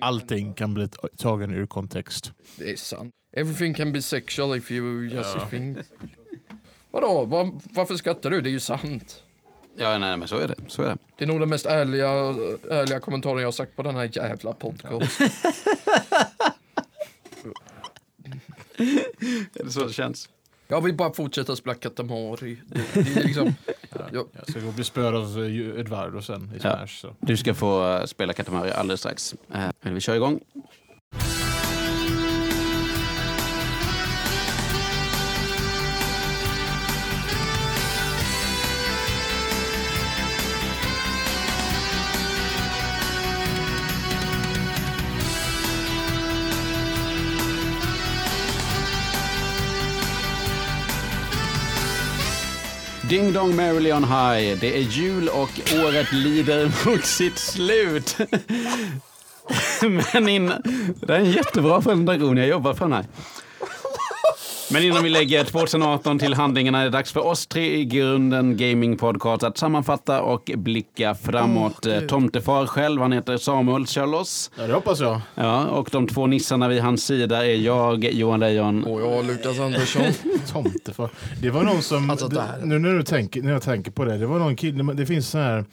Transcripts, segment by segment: allting kan bli t- tagen ur kontext. Det är sant. Everything can be sexual if you just think. Vadå, Var, varför skrattar du? Det är ju sant. Ja, nej, men så är det. Så är det. Det är nog den mest ärliga, ärliga kommentaren jag har sagt på den här jävla podcasten. Är det så det känns? Jag vill bara fortsätta spela Katamari. Det, det är liksom, jag, Jag ska gå och bli spöad av eh, Eduardo sen i Smash. Ja. Så. Du ska få eh, spela Katamari alldeles strax. Eh, Men vi kör igång. Ding dong merrily on high. Det är jul och året lider mot sitt slut. Men innan... Det är en jättebra presentation, jag jobbar för den här. Men innan vi lägger 2018 till handlingarna är det dags för oss tre i grunden Gaming Podcast att sammanfatta och blicka framåt. Eh, Tomtefar själv, han heter Samuel Kjöllos. Ja, det hoppas jag. Ja, och de två nissarna vid hans sida är jag, Johan Lejon. och jag, Lukas Andersson. Tomtefar. Det var någon som, Alltså, det här- nu när, du tänker, när jag tänker på det, det var någon kille, det finns så här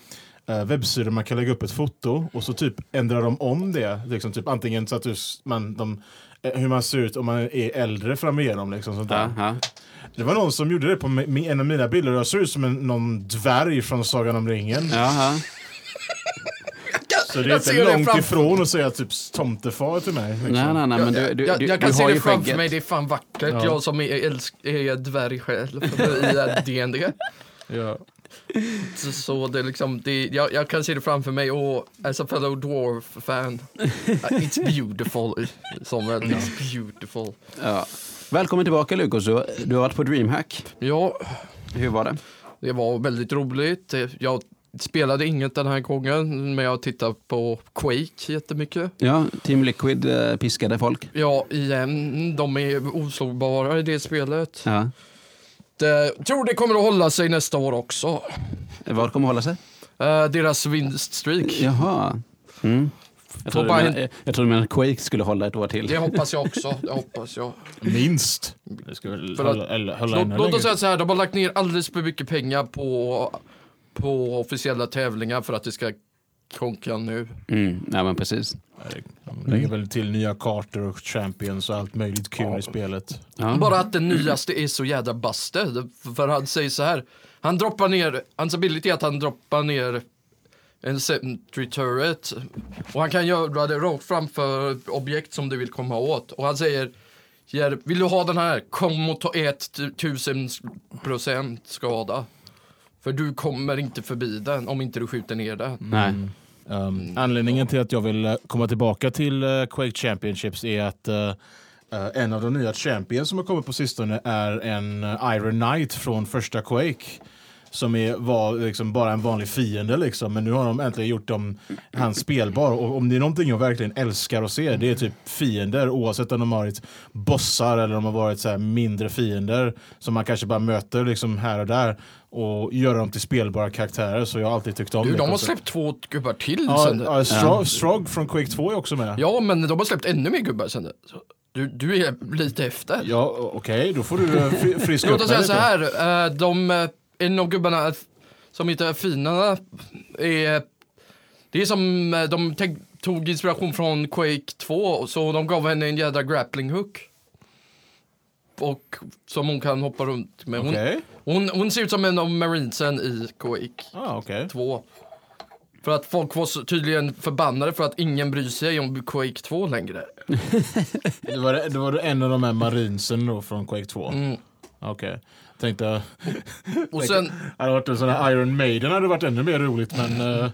eh, webbsidor man kan lägga upp ett foto och så typ ändrar de om det. Liksom typ antingen så att du, s- man, de, eh, hur man ser ut om man är äldre framigenom. Liksom, sånt där. Ja, ja. Det var någon som gjorde det på mi- mi- en av mina bilder och jag såg ut som en, någon dvärg från Sagan om ringen. Ja, ja. Så det är jag ser inte det långt framför- ifrån att säga typ tomtefar till mig. Liksom. Nej, nej, nej, men du, jag, du, jag, du, jag du kan har se det ju framför skägget. mig, det är fan vackert. Ja. Jag som är, älsk, är dvärg själv i D&D. Ja. Så- Så det är liksom, det, är- jag, jag kan se det framför mig och as a fellow dwarf fan. It's beautiful Samuel, it's beautiful. Ja. Välkommen tillbaka Lukas, du, du har varit på DreamHack. Ja, Hur var det? det var väldigt roligt. Jag spelade inget den här gången men jag tittade på Quake jättemycket. Ja, Team Liquid eh, piskade folk. Ja, igen, de är oslagbara i det spelet. Ja. Det, tror det kommer att hålla sig nästa år också. Vad kommer hålla sig? Eh, deras vinststreak. Jaha. Mm. Jag Får trodde, bara men, eh, jag trodde men Quake skulle hålla ett år till. Det hoppas jag också. Det hoppas jag. Minst. Det ska väl För att- hålla, eller, hålla Låt, ännu låt längre. oss säga så här, de har lagt ner alldeles för mycket pengar på, på officiella tävlingar för att det ska konka nu. Mm. Ja, men precis. De lägger väl till nya kartor och champions och allt möjligt kul i spelet. Ja. Bara att den nyaste är så jädra busted. För han säger så här, han droppar ner, hans ability är att han droppar ner en sentry turret och han kan göra det rakt framför objekt som du vill komma åt. Och han säger, "Jer, vill du ha den här, kom och ta 1000 procent skada. För du kommer inte förbi den om inte du skjuter ner den. Nej. Um, anledningen till att jag vill eh, komma tillbaka till eh, Quake Championships är att eh, eh, en av de nya champions som har kommit på sistone är en eh, Iron Knight från första Quake. Som är, var liksom bara en vanlig fiende liksom, men nu har de äntligen gjort dem, han spelbar. Och om det är någonting jag verkligen älskar att se, det är typ fiender oavsett om de har varit bossar eller om de har varit så här mindre fiender som man kanske bara möter liksom här och där och göra dem till spelbara karaktärer. Så jag har alltid tyckt om Du, det de har konceptet. släppt två gubbar till Ja, sen. ja, Strog, Strog från Quake 2 är också med. Ja, men de har släppt ännu mer gubbar sen. Så Du, du är lite efter. Ja, o- okej, då får du eh, fri- friska upp Låt oss säga dig så lite. här, eh, de, eh, en av gubbarna som heter Finarna är, det är som eh, de tänk- tog inspiration från Quake 2, så de gav henne en jädra grappling hook. Och som hon kan hoppa runt med. Hon, Okej. hon, hon ser ut som en av marinesen i Quake Ah, okej. 2. För att folk var så tydligen förbannade för att ingen bryr sig om Quake 2 längre. Det var, det var en av de här marinsen då från Quake 2. Mm. Okej. Tänkte, Och sen, hade det varit en sån här Iron Maiden hade det varit ännu mer roligt men... eh,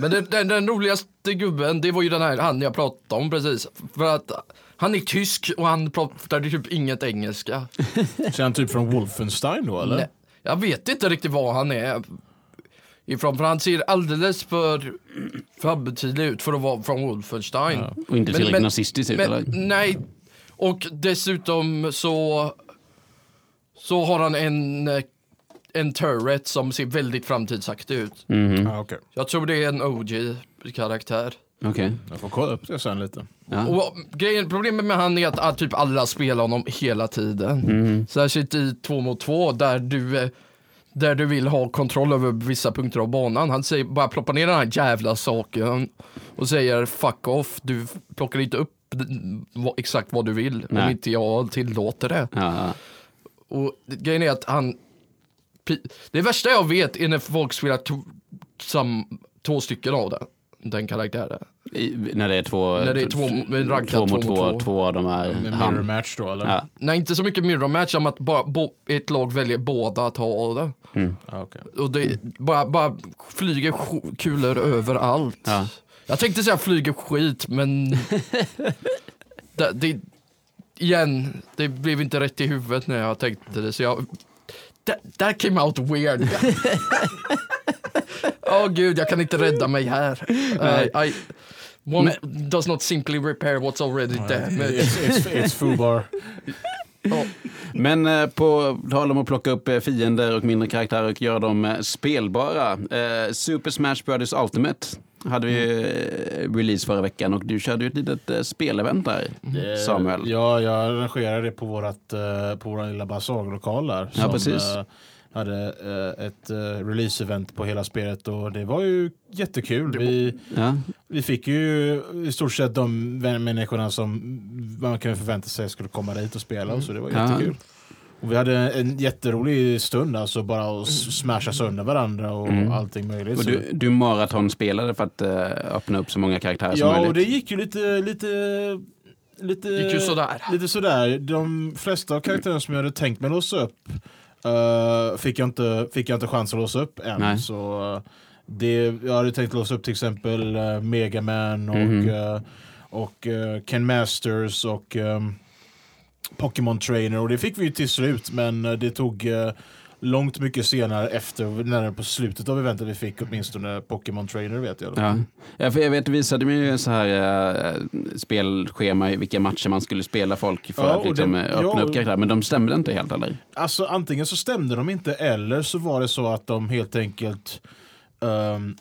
Men den, den, den roligaste gubben, det var ju den här han jag pratade om precis. För att han är tysk och han pratade typ inget engelska. så är han typ från Wolfenstein då eller? Nej, jag vet inte riktigt vad han är ifrån, för han ser alldeles för framtidlig ut för att vara från Wolfenstein. Och inte Men- tillräckligt men- nazistiskt ut, eller? Men nej, och dessutom så, så har han en, eh, en turret Mm. som ser väldigt framtidsaktig ut. Ah, okej. Jag tror det är en OG-karaktär. Okej. Jag får kolla upp det sen lite. Ja. Och grejen, problemet med han är att, att typ alla spelar honom hela tiden. Särskilt i två mot två där du, eh, där du vill ha kontroll över vissa punkter av banan. Han säger bara ploppa ner den här jävla saken och säger fuck off, du plockar inte upp d- vad- exakt vad du vill om Nej. inte jag tillåter det. Ja. Och grejen är att han... pi- Det värsta jag vet är när folk spelar to, sam, två stycken av den, den karaktären. I, när det är två... När det är två- men raggat två mot två två. mot Två, två. av de Mm. här... Med mirror Han, match då eller? ja. Nej, inte så mycket mirror match som att bara, bo, ett lag väljer båda att ha det. Ah, okej. Och det bara, bara flyger sk- kulor överallt. Ja. Jag tänkte säga flyger skit, men... det, det, igen, det blev inte rätt i huvudet när jag tänkte det, så jag... That, that came out weird. Åh gud, jag kan inte rädda mig här. Uh, I, I, one does not simply repair what's already damaged. It's, it's, it's Fubar. Men eh, på tal om att plocka upp eh, fiender och mindre karaktärer och göra dem eh, spelbara. Eh, Super Smash Brothers Ultimate hade vi eh, release förra veckan och du körde ju ett litet eh, spelevent där, Mm. Samuel. Mm. Eh, Ja, jag arrangerade det på, vårat, eh, på vår lilla basarlokal där. Ja, precis. eh, hade eh, ett eh, release-event på hela spelet och det var ju jättekul. Vi, Ja. vi fick ju i stort sett de vän- människorna som man kunde förvänta sig skulle komma dit och spela och så det var Mm. Ja. jättekul. Och vi hade en jätterolig stund alltså bara att s- smasha sönder varandra och allting möjligt. Mm. Och Så- du, du maratonspelade för att eh, öppna upp så många karaktärer som Ja, och möjligt. det gick ju lite... lite Lite, Gick ju sådär. lite sådär. De flesta av karaktärerna som jag hade tänkt mig låsa upp eh, fick, jag inte, fick jag inte chans att låsa upp än. Nej. Så, eh, det, jag hade tänkt låsa upp till exempel eh, Mega Man och, eh, och eh, Ken Masters och ehm, Pokémon Trainer och det fick vi ju till slut men eh, det tog eh, långt mycket senare efter, när på slutet av eventet vi fick åtminstone Pokémon Trainer vet jag. då. Ja. Ja, för jag vet, du visade mig ju en så här eh, spelschema, i vilka matcher man skulle spela folk för Ja, att och liksom, det- eh, öppna ja, upp och- karaktärer, men de stämde inte helt eller? Alltså antingen så stämde de inte eller så var det så att de helt enkelt um,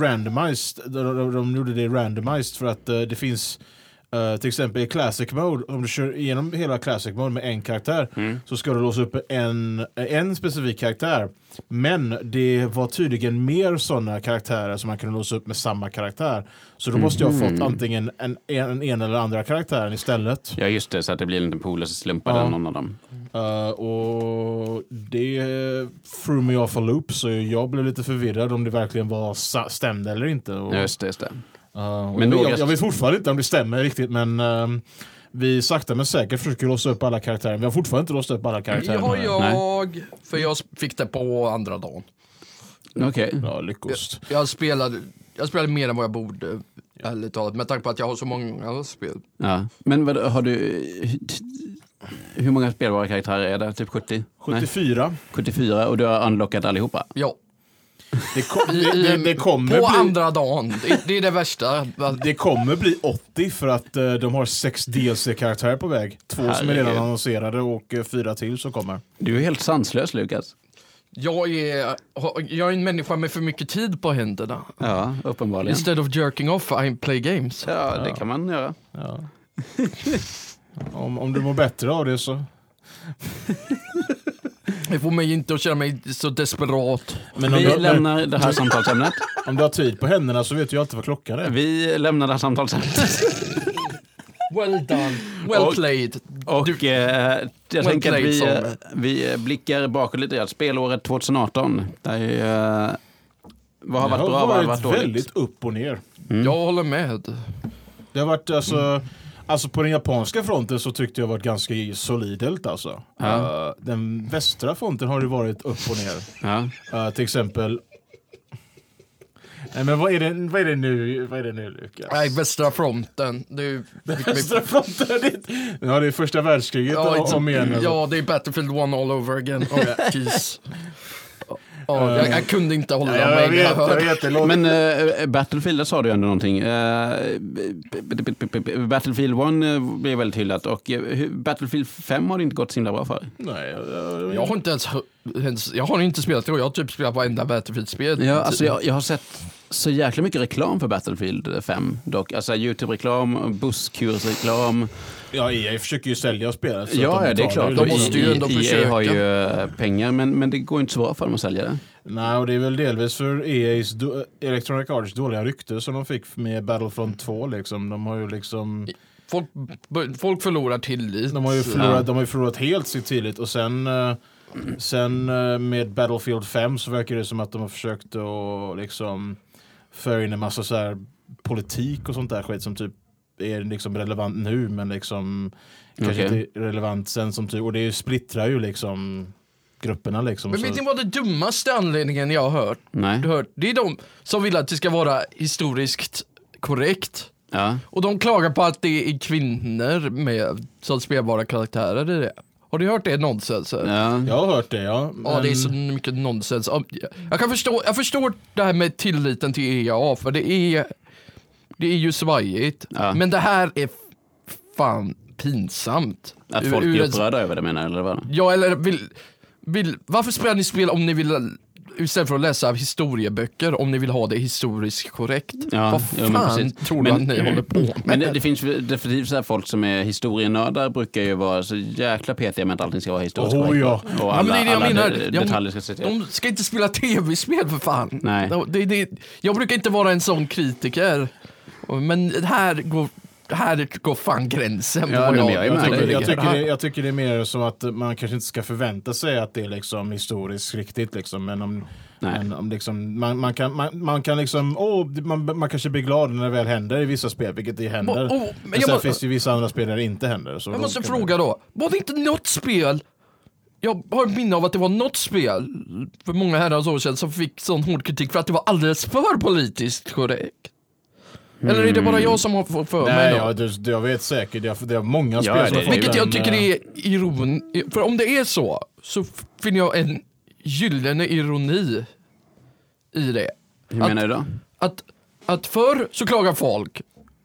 randomized, de, de, de gjorde det randomized för att eh, det finns eh, till exempel i Classic Mode, om du kör igenom hela Classic Mode med en karaktär så ska du låsa upp en, en specifik karaktär. Men det var tydligen mer sådana karaktärer som man kunde låsa upp med samma karaktär. Så då måste jag ha fått antingen en, en, en eller andra karaktären istället. Ja, just det, så att det blir en liten pool och så slumpar Ja. den någon av dem. Eh, och det threw me off a loop så jag blev lite förvirrad om det verkligen var sa- stämde eller inte. Och, Ja, Just det, just det. eh, och Men då- jag, jag vet fortfarande inte om det stämmer riktigt men ehm, vi sakta men säkert försöker låsa upp alla karaktärer. Vi har fortfarande inte låst upp alla karaktärer. Ja, jag, för jag fick det på andra dagen. Mm. Okej. Ja, lyckost. Jag spelade, jag spelade mer än vad jag borde, ärligt talat. Med tanke på att jag har så många spel. Ja. Men vad, har du... Hur många spelbara karaktärer är det? Typ 70? Nej, 74. 74 och du har unlockat allihopa? Ja, Det, kom, i, det, det, det, i- kommer på bli, andra dagen. Det, det är det värsta. det kommer bli 80 för att eh, de har sex DLC-karaktärer på väg. Två som är redan Herregud. annonserade och eh, fyra till som kommer. Du är helt sanslös, Lukas. Jag är, jag är en människa med för mycket tid på händerna. Ja, uppenbarligen. Instead of jerking off, I play games. Ja, det kan man göra. Ja. Om, om du mår bättre av det så. Det får mig inte att känna mig så desperat. Men om, Vi du, men, lämnar det här samtalsämnet. om du har tid på händerna så vet du ju alltid vad klockan är. Vi lämnar det här samtalsämnet. Well done. Well Och- played. Och eh, jag Well tänker att vi, played, eh, vi eh, blickar bakåt lite grann. Spelåret 2018. Där, eh, vad har Det varit har bra? Vad har varit varit dåligt? väldigt upp och ner. Jag håller med. Det har varit alltså, alltså på den japanska fronten så tyckte jag varit ganska solidelt alltså. Ja. Eh, den västra fronten har det varit upp och ner. Ja. Eh, till exempel Nej men vad är det, vad är det nu, vad är det nu Lukas? Nej, västra fronten. Det är ju- Västra fronten, det är- ja det är första världskriget Ja, ja, om igen. exakt. alltså. ja, det är Battlefield 1 all over again. Oh, jeez. Ja, jag, jag kunde inte hålla Eh, Ja, jag mig. när vet, jag jag hörde. vet, det låter Men eh, Battlefield, där sa du ändå någonting. Eh, Battlefield 1 eh, blev väldigt hyllat och eh, hur- Battlefield 5 har det inte gått så himla bra för. Nej, jag- jag- Jag har inte ens, hö- ens jag har inte spelat det och jag har typ spelat varenda Battlefield-spel. Ja, alltså jag, jag har sett så jäkla mycket reklam för Battlefield 5 dock. Alltså Youtube-reklam, busskursreklam. Ja, EA försöker ju sälja spelet. så att Ja, de ja, det är betalar klart. ju De liksom- måste ju ändå EA försöka. E har ju eh, pengar, men, men det går inte så bra för dem att sälja det. Nej, och det är väl delvis för EA's do- Electronic Arts dåliga rykte som de fick med Battlefront 2. Liksom. De har ju liksom... Folk, folk förlorar tillit. De har ju förlorat, de har ju förlorat helt sitt tillit och sen, eh, sen eh, med Battlefield 5 så verkar det som att de har försökt att liksom föra in en massa så här politik och sånt där skit som typ är liksom relevant nu men liksom kanske Okej. inte relevant sen som typ och det splittrar ju liksom grupperna liksom. Men så- vet ni vad det dummaste anledningen jag har hört? Nej. hört? Det är de som vill att det ska vara historiskt korrekt. Ja. Och de klagar på att det är kvinnor med som spelbara karaktärer i det. Har ni hört det nonsens? Ja, Ja. Jag har hört det ja. ja det är men- så mycket nonsens. Ja, Jag kan förstå, jag förstår det här med tilliten till EA, för det är, det är ju svajigt. Ja. Men det här är f- fan pinsamt. Att Ur- folk ur blir ett- upprörda över det menar du, eller vad? Ja, eller vill, vill, varför spelar ni spel om ni vill Istället för att läsa historieböcker om ni vill ha det historiskt korrekt. Ja, Vad jo, men fan precis. tror du Men- att ni håller på med? Men det, det finns ju definitivt så här folk som är historienördar brukar ju vara så jäkla petiga med att allting ska vara historiskt Oho, korrekt. ja. Och Oh, Ja, men alla, det är det jag alla menar. de- Jag- detaljer ska se till. De ska inte spela tv-spel för fan. Nej. De- Det, det, jag brukar inte vara en sån kritiker. Men här går, här går fan gränsen. Ja, på vad nej, men jag är Jag med tycker, dig. jag, tycker det, jag tycker det är mer som att man kanske inte ska förvänta sig att det är liksom historiskt riktigt. Liksom. Men om, Nej. men om liksom, man, man, kan, man, man kan liksom, åh, man, man kanske blir glad när det väl händer i vissa spel, vilket det händer. Åh, åh, men men jag sen må- finns det ju vissa andra spel där det inte händer. Så Jag då måste kan man- fråga då, var det inte något spel jag har ett minne av att det var något spel för många herrans år sedan som fick sån hård kritik för att det var alldeles för politiskt korrekt. Eller är det Mm. bara jag som har fått för mig Nej, något? ja, det, det, jag vet säkert, det är, det är många spel det- som har fått Vilket jag den, tycker eh, är iron... För om det är så, så f- finner jag en gyllene ironi i det. Hur Att- menar du då? Att, att förr så klagar folk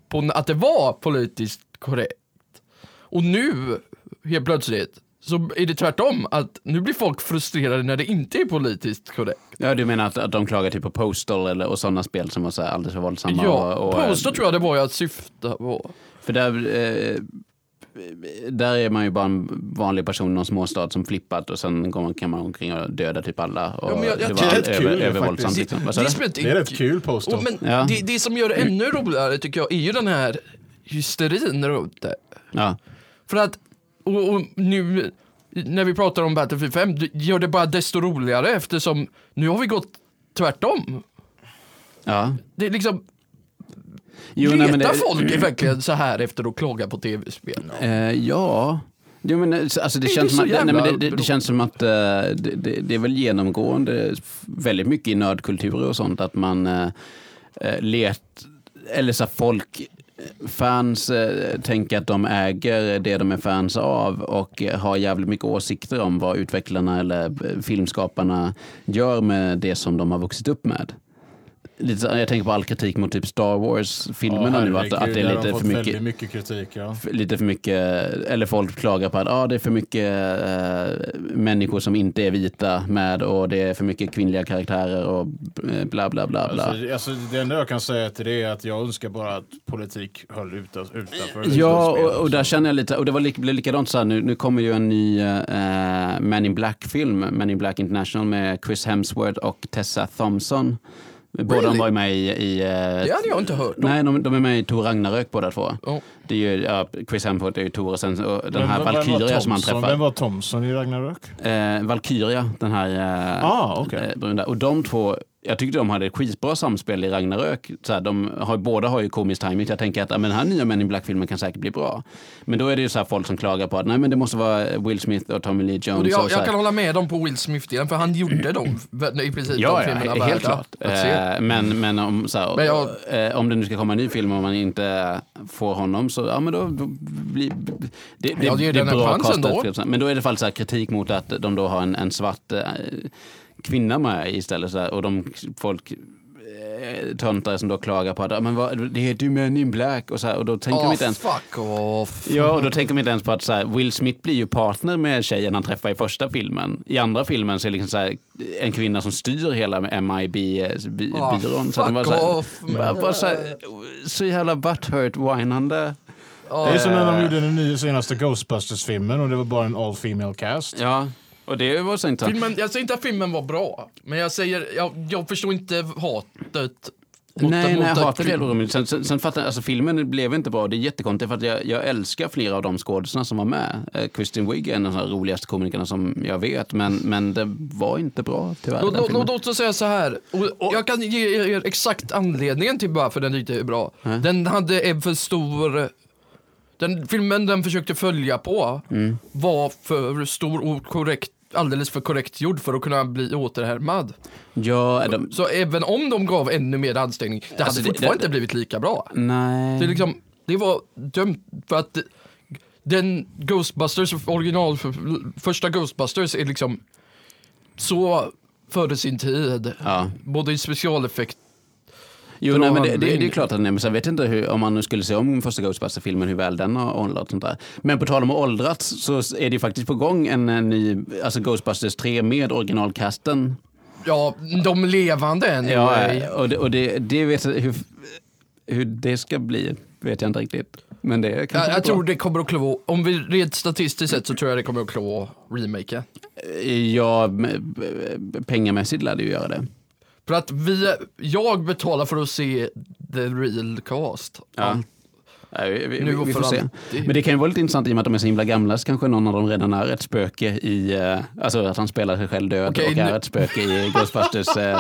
på n- att det var politiskt korrekt. Och nu, helt plötsligt, så är det tvärtom. Att nu blir folk frustrerade när det inte är politiskt korrekt. Ja, du menar att, att de klagar typ på Postal eller, och sådana spel som var så här alldeles för våldsamma? Ja, och, och, eh, Poster tror jag det var jag syftade på. För där, eh, där är man ju bara en vanlig person i någon småstad som flippat och sen går man, kan man omkring och döda typ alla. Och Ja, men jag- jag- det det var är rätt kul över, ju övervåldsamt. faktiskt. Liksom. Vad sa du? spelet Det är rätt kul påstå. Och, men Ja. det, det som gör det ännu roligare tycker jag är ju den här hysterin runt det. Ja. För att, och, och nu när vi pratar om Battlefield 5, det gör det bara desto roligare eftersom nu har vi gått tvärtom. ja. Det är liksom, Jo, letar nej, men det- folk är verkligen så här efter att klaga på tv-spel? Eh, ja. Jo, men, eh, alltså, det, Det är känns så som att, nej, jävla men det, det, det beroende. känns som att eh, det, det, det är väl genomgående f- väldigt mycket i nördkulturer och sånt att man eh, eh, let, eller så här, folk eh, fans eh, tänker att de äger det de är fans av och eh, har jävligt mycket åsikter om vad utvecklarna eller eh, filmskaparna gör med det som de har vuxit upp med. Lite, så- jag tänker på all kritik mot typ Star Wars-filmerna nu, att, att det herregud, är där har de lite fått för mycket väldigt mycket kritik. Ja. f- lite för mycket, eller folk klagar på att ah, det är för mycket eh, människor som inte är vita med och det är för mycket kvinnliga karaktärer och eh, bla bla bla. bla. Alltså, alltså, det enda jag kan säga till det är att jag önskar bara att politik höll utan- utanför. Ja, spel, och, och där alltså. känner jag lite, och det var li, blev likadant så här, nu, nu kommer ju en ny eh, Men in Black-film, Men in Black International med Chris Hemsworth och Tessa Thompson. Båda Really? var ju med i... i eh, Det hade jag inte hört om. Nej, de, de är med i Tor Ragnarök båda två. Ja. Det är ju, ja, Chris Hemsworth är ju Tor och sen och den Men här vem- vem var Valkyria som han Thompson? träffar. Vem var Thompson i Ragnarök? eh, Valkyria, den här eh, Ah, okej. eh, bruna. Och de två, jag tyckte de hade ett skitbra samspel i Ragnarök. Så här, de har, båda har ju komiskt timing. Jag tänker att ja, men den här nya Men in Black-filmen kan säkert bli bra. Men då är det ju så här folk som klagar på att nej, men det måste vara Will Smith och Tommy Lee Jones. Och det, och jag, så här. jag kan hålla med dem på Will Smith-delen för han gjorde dem i princip Ja, de ja, filmerna he- helt klart. att se. Mm. Eh, men men, om, så här, Men jag- eh, om det nu ska komma en ny film och man inte får honom så ja, men då blir det, det, Ja, det är det är den här bra chansen då. castat. Men då är det i alla fall så här kritik mot att de då har en, en svart eh, kvinna med istället så här, och de folk eh, eh, töntar som då klagar på att "Ah, men vad, det är du med in black och så här, och då tänker de Ah, inte ens fuck off. Ja, och då tänker man inte ens på att så här, Will Smith blir ju partner med tjejen han träffar i första filmen. I andra filmen så är det liksom så här, en kvinna som styr hela Ah, MIB-byrån. så fuck den var så, här, off. bara, bara så, här, så jävla butthurt whinande. Ja. Det är som Eh. när de gjorde den nya senaste Ghostbusters-filmen och det var bara en all female cast. Ja, och det var så inte... Filmen, jag säger inte att filmen var bra, men jag säger, jag, jag förstår inte hatet. mot- mot Nej, nej, jag att hatar det. kvinnor- Romy. Sen, sen, sen fattar jag, alltså filmen blev inte bra. Det är jättekonstigt för att jag, jag älskar flera av de skådespelarna som var med. Eh, Kristen Wiig är en av de roligaste komikerna som jag vet, men, men det var inte bra tyvärr. Låt- den Låt filmen. låt- låt oss säga så här, och, och jag kan ge er exakt anledningen till varför den inte är bra. Den hade en för stor, den filmen den försökte följa på Mm. var för stor och korrekt, alldeles för korrekt gjord för att kunna bli återhärmad. Ja, de, Så även om de gav ännu mer ansträngning, det hade Alltså, det- fortfarande det- inte blivit lika bra. nej. Det, är liksom, det var dömt för att den Ghostbusters, original, för- första Ghostbusters är liksom så före sin tid. Ja. Både i specialeffekt, Jo, Bra nej, men det, det, handling. det är klart att nej, men sen vet jag inte hur, om man nu skulle se om första Ghostbusters-filmen, hur väl den har åldrats. och Sånt där. Men på tal om att åldrats så är det ju faktiskt på gång en, eh, ny, alltså Ghostbusters 3 med originalkasten. ja, de levande anyway. eh, och det, och det, det vet jag, hur, hur det ska bli vet jag inte riktigt. Men det är kanske Jag, jag bra. tror det kommer att klå, om vi rent statistiskt sett så tror jag det kommer att klå remaken. Ja, men, eh, pengamässigt lär det ju göra det. För att vi, jag betalar för att se the real cast. Ja. Nej, vi, vi, Nu och vi får för se. alltid. Men det kan ju vara lite intressant i och med att de är så himla gamla så kanske någon av dem redan är ett spöke i, eh, alltså att han spelar sig själv död Okej, och är nu- ett spöke i Ghostbusters. eh.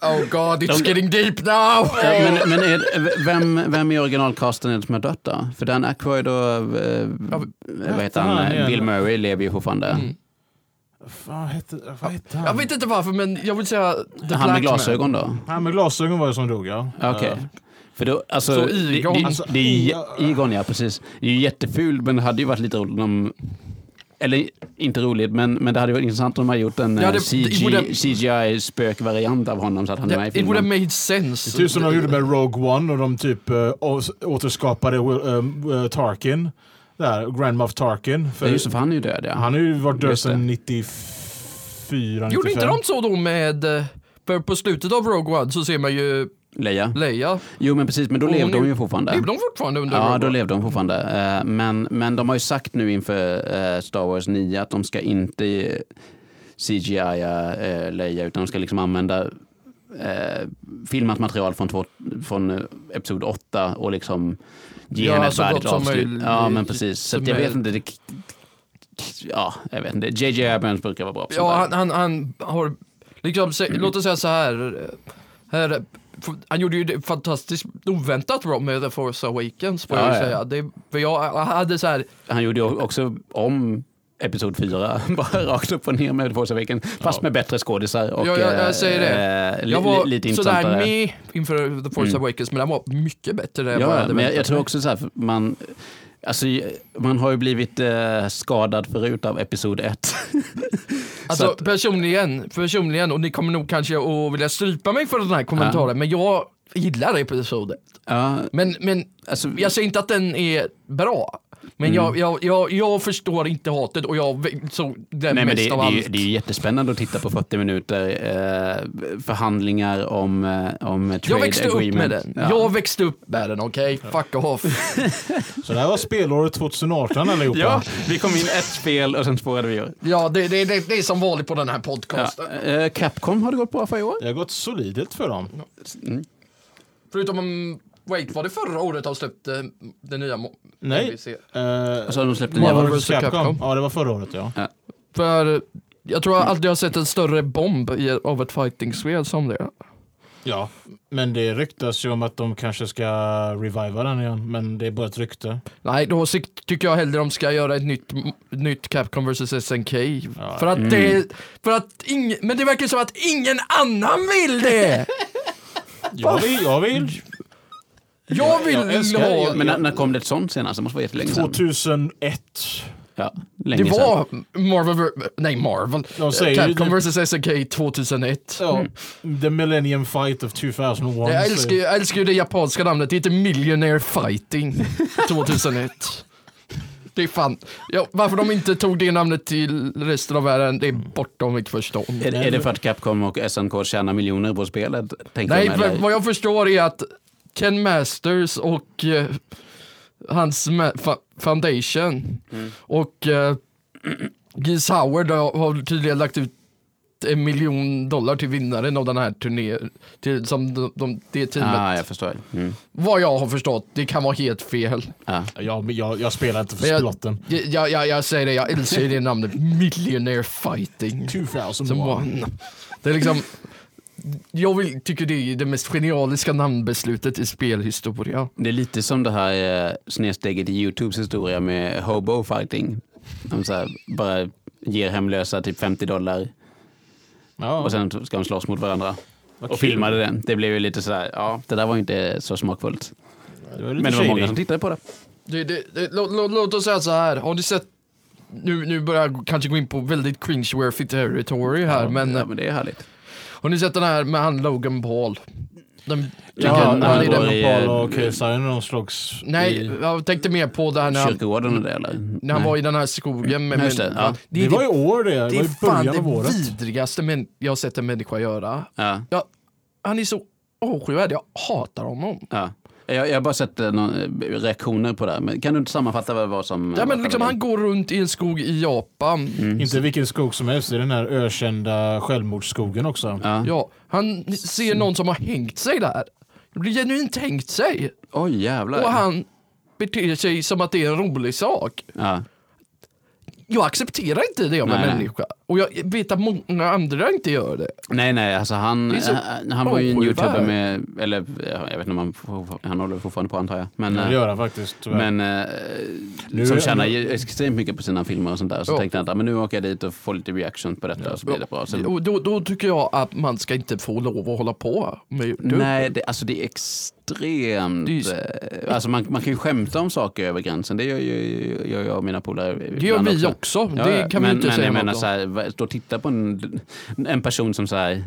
Oh god, it's getting deep now! Ja, men men är, v- vem, vem i originalcasten är det som har dött då? För Dan Aykroyd och eh, vad heter fan han? är Bill det? Murray lever ju fortfarande. Vad hette vad hette han? Jag vet inte varför men jag vill säga The Han med Black Man. glasögon då? Han med glasögon var det som dog, ja. Ja, Okej. Eh, För då, alltså, Så det- Egon, det, alltså, det är, ja. ju- Egon, ja precis. Det är ju jätteful, men det hade ju varit lite roligt om... Eller inte roligt, men, men det hade varit intressant om de hade gjort en Ja, det- eh, det CG, borde- CGI-spökvariant av honom så att han är med i Det, it would have filmen. made sense. Typ som de gjorde med Rogue One och de typ eh, å- återskapade Will- eh, eh, Tarkin. Där, Grand Moff Tarkin. Ja, För just det, för han är ju död ja. Han har ju varit död Just det. sedan 94, 95. Gjorde inte de så då med, eh, för på slutet av Rogue One så ser man ju Leia. Leia. Jo men precis, men då Och hon levde de är- ju fortfarande. Levde de fortfarande under Ja, Rogue då One? levde de fortfarande. Eh, Men, men de har ju sagt nu inför eh, Star Wars 9 att de ska inte eh, CGI eh, Leia utan de ska liksom använda eh, filmat material från, två, från eh, Episod 8 och liksom ge Ja, henne ett så gott värdigt som avslut. möjligt. Ja, men precis. Så Som att jag vet är- inte. Det, ja, jag vet inte. JJ Abrams brukar vara bra på Ja, sånt han, där. han, han har, liksom, se, låt oss säga så här. eh, här eh, f- han gjorde ju det fantastiskt oväntat bra med The Force Awakens får Ja, jag ja. ju säga. Det, för jag hade så här, Han gjorde ju också om Episod 4, bara rakt upp och ner med Force Awakens, fast med bättre skådisar och Ja, jag- jag eh, säger det. eh, li- jag var li- lite sådär intressantare. med inför The Force Awakens men den var mycket bättre än vad jag Ja, hade men jag, jag väntat tror mig. också så här, för man, alltså, man har ju blivit eh, skadad förut av episod 1. Alltså Så att- personligen, personligen, och ni kommer nog kanske att vilja strypa mig för den här kommentaren, men jag gillar episoden. ja, Men, men alltså, jag säger inte att den är bra. Mm. Men jag, jag, jag, jag förstår inte hatet och jag vä- såg den nej, men mest det, det, av är ju, allt. det är ju jättespännande att titta på 40 minuter eh, förhandlingar om, eh, om trade jag växte agreement. upp med den. Ja. Jag växte upp med den, okej? Fuck off. Så det här var spelåret 2018 allihopa. Ja, vi kom in ett spel och sen spårade vi ur. Ja, det, det, det, det är som vanligt på den här Ja. podcasten. eh, Capcom har det gått bra för i år. Det har gått solidigt för dem. Förutom om, wait, var det förra året de släppte den nya mo- Nej. NBC? Eh, Alltså, de släppte nya Marvel Marvel vs vs. Capcom. Capcom. Ja, det var förra året ja. För jag tror jag aldrig har sett en större bomb i, av ett fighting-spel som det. Ja, men det ryktas ju om att de kanske ska reviva den igen, men det är bara ett rykte. Nej, då sikt- tycker jag hellre de ska göra ett nytt, nytt Capcom vs SNK. För att det, för att ing, men det verkar som att ingen annan vill det! Jag vill, jag Mm. vill. Jag vill jag älskar- ha... jag- Men när, när kom det ett sånt senast? Det måste vara jättelänge sedan. 2001. Ja, Det länge sedan. var Marvel, ver- nej Marvel, De säger ju Capcom det- vs SNK 2001. Ja, Mm. The Millennium Fight of 2001. Jag så- älskar, ju- jag älskar ju det japanska namnet, det heter Millionaire Fighting 2001. Det är fan, ja, varför de inte tog det namnet till resten av världen, det är bortom mitt förstånd. Är, är det för att Capcom och SNK tjänar miljoner på spelet? Tänkte Nej, de, för, eller? vad jag förstår är att Ken Masters och eh, hans ma- fa- foundation och eh, Giz Howard har, har tydligen lagt ut en miljon dollar till vinnaren av den här turnén, till, som de, de, det teamet. ah, jag förstår. Mm. Vad jag har förstått, det kan vara helt fel. Ah. Ja, men jag, jag spelar inte för Men jag- splotten. Jag, jag, jag, jag säger det, jag älskar ju det namnet, Millionaire Fighting. 2001. Som one. Det är liksom, jag vill, tycker det är det mest genialiska namnbeslutet i spelhistoria. Det är lite som det här eh, snedsteget i Youtubes historia med hobo fighting. De så här, bara ger hemlösa typ 50 dollar Ja. och sen ska de slåss mot varandra. Vad Och kul. filmade den. Det blev ju lite sådär, ja, det där var ju inte så smakfullt. Det var lite Men det var många shady. som tittade på det. Det, det, det, låt, låt, låt oss säga så här, har ni sett nu, nu börjar jag kanske gå in på väldigt cringe-worthy territory här, men, eh, ja, men det är härligt. har ni sett den här med han Logan Paul? Den, Ja, den, han när är den, var i- Logan Paul och Kesaren och de slogs nej, i... jag tänkte mer på det här när han, Kyrkogården och det eller? när han var i den här skogen. Med, Just det, ja. Det, var i år det, det, det var är i fan början av det året. vidrigaste men jag har sett en människa göra. Ja, Jag, han är så avskyvärd, jag hatar honom. ja. Jag, jag har bara sett eh, någon, eh, reaktioner på det. här, Men kan du inte sammanfatta vad det var som... Ja, men liksom, han går runt i en skog i Japan. Mm. Inte vilken skog som helst, det är den här ökända självmordsskogen också. Ja. Ja, han ser någon som har hängt sig där. Det blir genuint hängt sig. Oj jävlar. Och han beter sig som att det är en rolig sak. Ja. Jag accepterar inte det om en Nej. människa. Och jag vet att många andra inte gör det. Nej, nej, alltså han, Det är så han, han var ju en avskyvärt. youtuber med, eller ja, jag vet inte om han, for- han håller fortfarande på antar jag. Men, Det eh, gör han faktiskt tyvärr. men eh, Nu- som tjänar ju extremt mycket på sina filmer och sånt där. Så Ja. tänkte han att men nu åker jag dit och får lite reaction på detta och så blir det bra. Så, Och då, då tycker jag att man ska inte få lov att hålla på med YouTube. nej, det, alltså det är extremt. Det är ju så- eh, alltså man, man kan ju skämta om saker över gränsen. Det gör ju gör jag och mina polare. Det gör ibland vi också. Ja, det ja. kan men, vi inte men säga jag något menar om. så här, va- stå och titta på en, en person som så här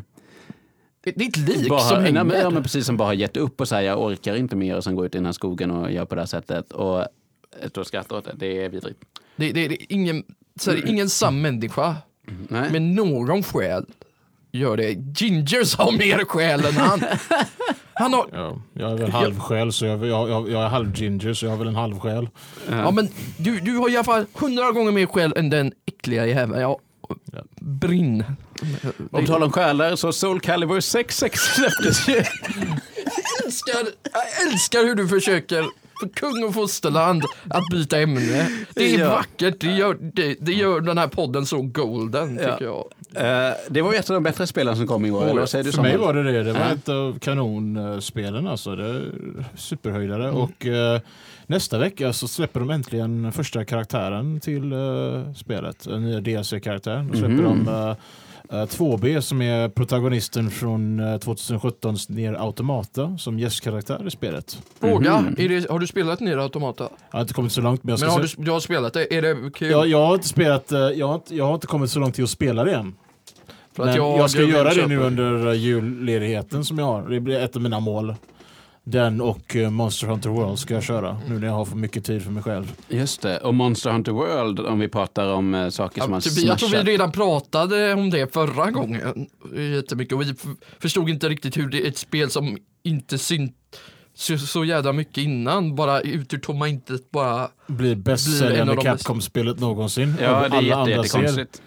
Det det är ett lik bara, som hänger. nej, men, ja, men precis som bara har gett upp och säger jag orkar inte mer och sen går ut i den här skogen och gör på det här sättet och då skrattar åt det. Det är vidrigt. Det, det, det är ingen, så här, det är ingen sann människa Nej. med någon själ gör det. Gingers har mer själ än han. Han har, Ja, jag är väl halvsjäl, så jag, jag, jag, jag är halvginger så jag har väl en halvsjäl. ja men du, du har i alla fall hundra gånger mer själ än den äckliga jäveln. Ja, brinn. Om tal om själar så Soul Calibur 66 släpptes ju. Jag älskar, jag älskar hur du försöker för kung och fosterland att byta ämne. Det är Ja. vackert, det gör, det, det gör den här podden så golden tycker Ja. jag. Eh, det var ju ett av de bättre spelen som kom i år. Eller vad säger du För mig Samuel? var det det. Det var ett av kanonspelen alltså. Det är superhöjdare. Mm. Och eh, nästa vecka så släpper de äntligen första karaktären till eh, spelet. Den nya DLC-karaktären. Då släpper Mm. de eh, eh, 2B som är protagonisten från eh, 2017s Ner Automata som gästkaraktär i spelet. Fråga, är det, har du spelat Nier Automata? Jag har inte kommit så långt men jag ska Men har se- du, du har spelat det, är det kul? jag, jag har inte spelat, eh, jag har inte, jag har inte kommit så långt till att spela det än. För Men jag, ska vill göra det köpa- nu under eh, julledigheten som jag har. Det blir ett av mina mål. Den och eh, Monster Hunter World ska jag köra nu när jag har för mycket tid för mig själv. Just det, och Monster Hunter World om vi pratar om eh, saker som Ja, har typ, jag tror vi smashat. redan pratade om det förra gången. Jättemycket. Och vi f- förstod inte riktigt hur det är ett spel som inte synt så, så jädra mycket innan, bara ut ur tomma intet bara. Blir Blir en av bästsäljande de bäst- Capcom-spelet någonsin. Ja, Alla det är jätte- andra serier. jättekonstigt.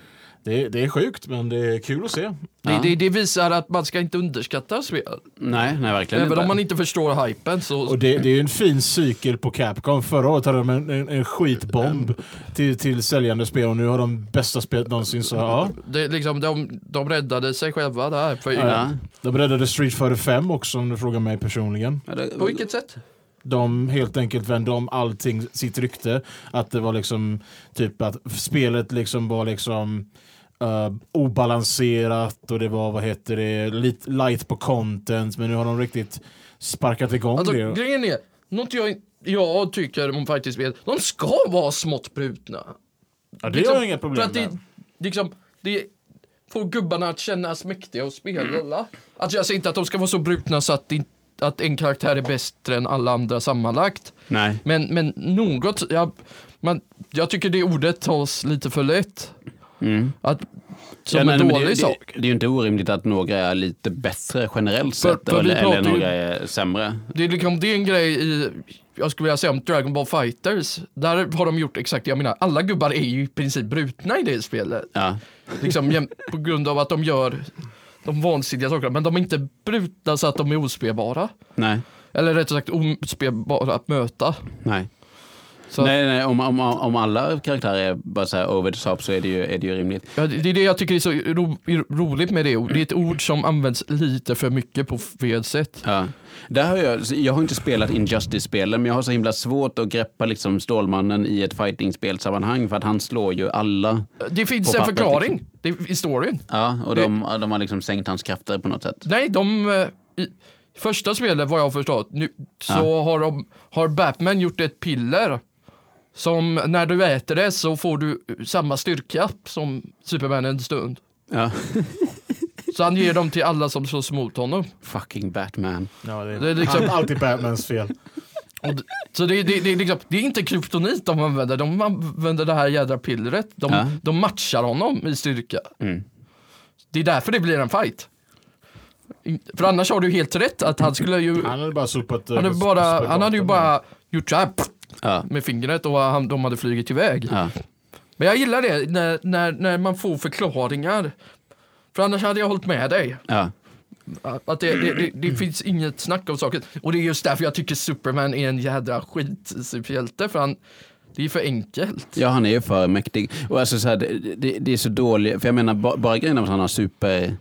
Det, är- det är sjukt men det är kul att se. Ja. Det, det, det visar att man ska inte underskatta spel. Nej, nej, verkligen Även inte. om man inte förstår hypen så. Och det, det är ju en fin cykel på Capcom. Förra året hade de en, en, en skitbomb till, till säljande spel och nu har de bästa spelet någonsin. Så ja, Det, är liksom, de, de räddade sig själva där. För, Ja. de räddade Street Fighter 5 också om du frågar mig personligen. Ja, det- På vilket sätt? De helt enkelt vände om allting, sitt rykte. Att det var liksom typ att spelet liksom var liksom eh, obalanserat och det var, vad heter det, lite light på content. Men nu har de riktigt sparkat igång Alltså det. grejen är, något jag, jag tycker om faktiskt spel, de ska vara smått brutna. Liksom, Ja, det har jag inga problem för att det, med. liksom, det får gubbarna att kännas mäktiga och spela. Mm. Alltså jag säger inte att de ska vara så brutna så att, det, att en karaktär är bättre än alla andra sammanlagt. Nej. Men, men något, jag, man, jag tycker det ordet tas lite för lätt. Att, som Mm. Ja, nej, en men dålig det, sak. Det, det är ju inte orimligt att några är lite bättre generellt För- sett för vi eller, eller pratar ju- några är sämre. Det är liksom, det är en grej i, jag skulle vilja säga om Dragon Ball Fighters. Där har de gjort exakt det jag menar. Alla gubbar är ju i princip brutna i det spelet. Ja. Liksom jäm- på grund av att de gör de vansinniga sakerna. Men de är inte brutna så att de är ospelbara. Nej. Eller rättare sagt ospelbara att möta. Nej. Så- nej, nej om, om, om alla karaktärer är bara så här over the top så är det ju, är det ju rimligt. Ja, det det är det jag tycker är så ro, roligt med det. Det är ett ord som används lite för mycket på fel sätt. Ja. Där har jag, jag har inte spelat Injustice-spelen, men jag har så himla svårt att greppa liksom Stålmannen i ett fighting-spelsammanhang för att han slår ju alla. Det finns På en pappret, liksom. förklaring det, i storyn. Ja, och de, de har liksom sänkt hans krafter på något sätt. Nej, de... eh, I, första spelet, vad jag har förstått, nu, så har, de, har Batman gjort ett piller. Som när du äter det så får du samma styrka som Superman en stund. Ja. Så han ger dem till alla som slåss mot honom. Fucking Batman. Ja, Det är liksom- Allt- Alltid Batmans fel. Och d- så det, det, det, är liksom, det är inte kryptonit de använder, de använder det här jädra pillret. De, Ja. de matchar honom i styrka. Mm. Det är därför det blir en fight. In- För annars har du helt rätt att han skulle ju... Han hade bara sopat... eh, Han hade, bara, sopat han hade ju gatan. bara gjort så här pff, Ja. med fingret och han, de hade flugit iväg. Ja. Men jag gillar det när, när, när man får förklaringar. För annars hade jag hållit med dig. Ja. Att det, det, det, Mm. det finns inget snack om saken. Och det är just därför jag tycker Superman är en jädra skitsuperhjälte. För han, det är för enkelt. Ja, han är ju för mäktig. Och alltså så här, det, det, det är så dåligt, för jag menar ba, bara grejen om att han har super...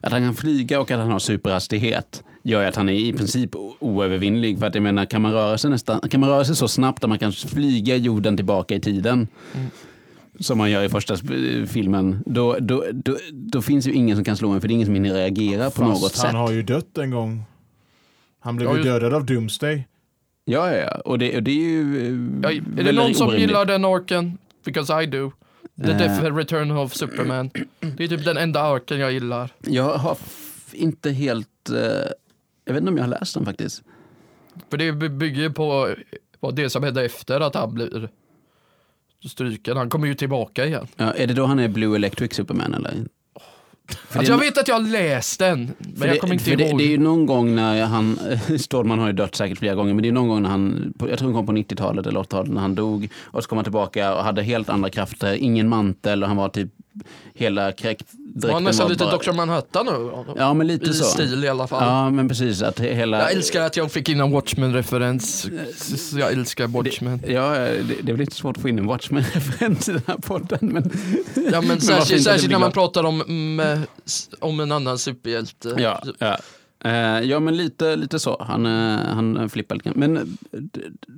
Att han kan flyga och att han har superhastighet gör ju att han är i princip o- oövervinnlig. För att jag menar, kan man röra sig, nästan, kan man röra sig så snabbt att man kan flyga jorden tillbaka i tiden, Mm. som man gör i första sp- filmen, då, då, då, då finns ju ingen som kan slå en, för det är ingen som hinner reagera på Fast något han sätt. har ju dött en gång. Han blev Ja, ju just- dödad av Doomsday. Ja, ja, ja. Och det, och det är ju... eh, Ja, är det väldigt någon som orimligt. gillar den arken? Because I do. The Eh. Death Return of Superman. Det är typ den enda arken jag gillar. Jag har f- inte helt... eh, jag vet inte om jag har läst den faktiskt. För det by- bygger ju på vad det som hände efter att han blir stryken. Han kommer ju tillbaka igen. Ja, är det då han är Blue Electric Superman eller? För Alltså jag det- vet att jag har läst den, men jag kommer inte för det, ihåg. det är ju någon gång när han, Stålman har ju dött säkert flera gånger, men det är någon gång när han, på- jag tror han kom på 90-talet eller 80-talet när han dog och så kom han tillbaka och hade helt andra krafter, ingen mantel och han var typ hela kräkt, var han nästan var lite bara- Dr. Manhattan nu? Ja, men lite I så. stil i alla fall. Ja, men precis. Att he- hela... Jag älskar att jag fick in en Watchmen-referens. Eh, S- Jag älskar Watchmen. Ja, eh, det, det är väl lite svårt att få in en Watchmen-referens i den här podden. Men... Ja, men varför inte? särskilt, Det särskilt blir när man glatt. pratar om, mm, s- om en annan superhjälte. Ja, ja. Eh, ja men lite, lite så. Han, eh, han flippar lite grann. Men eh, d- d-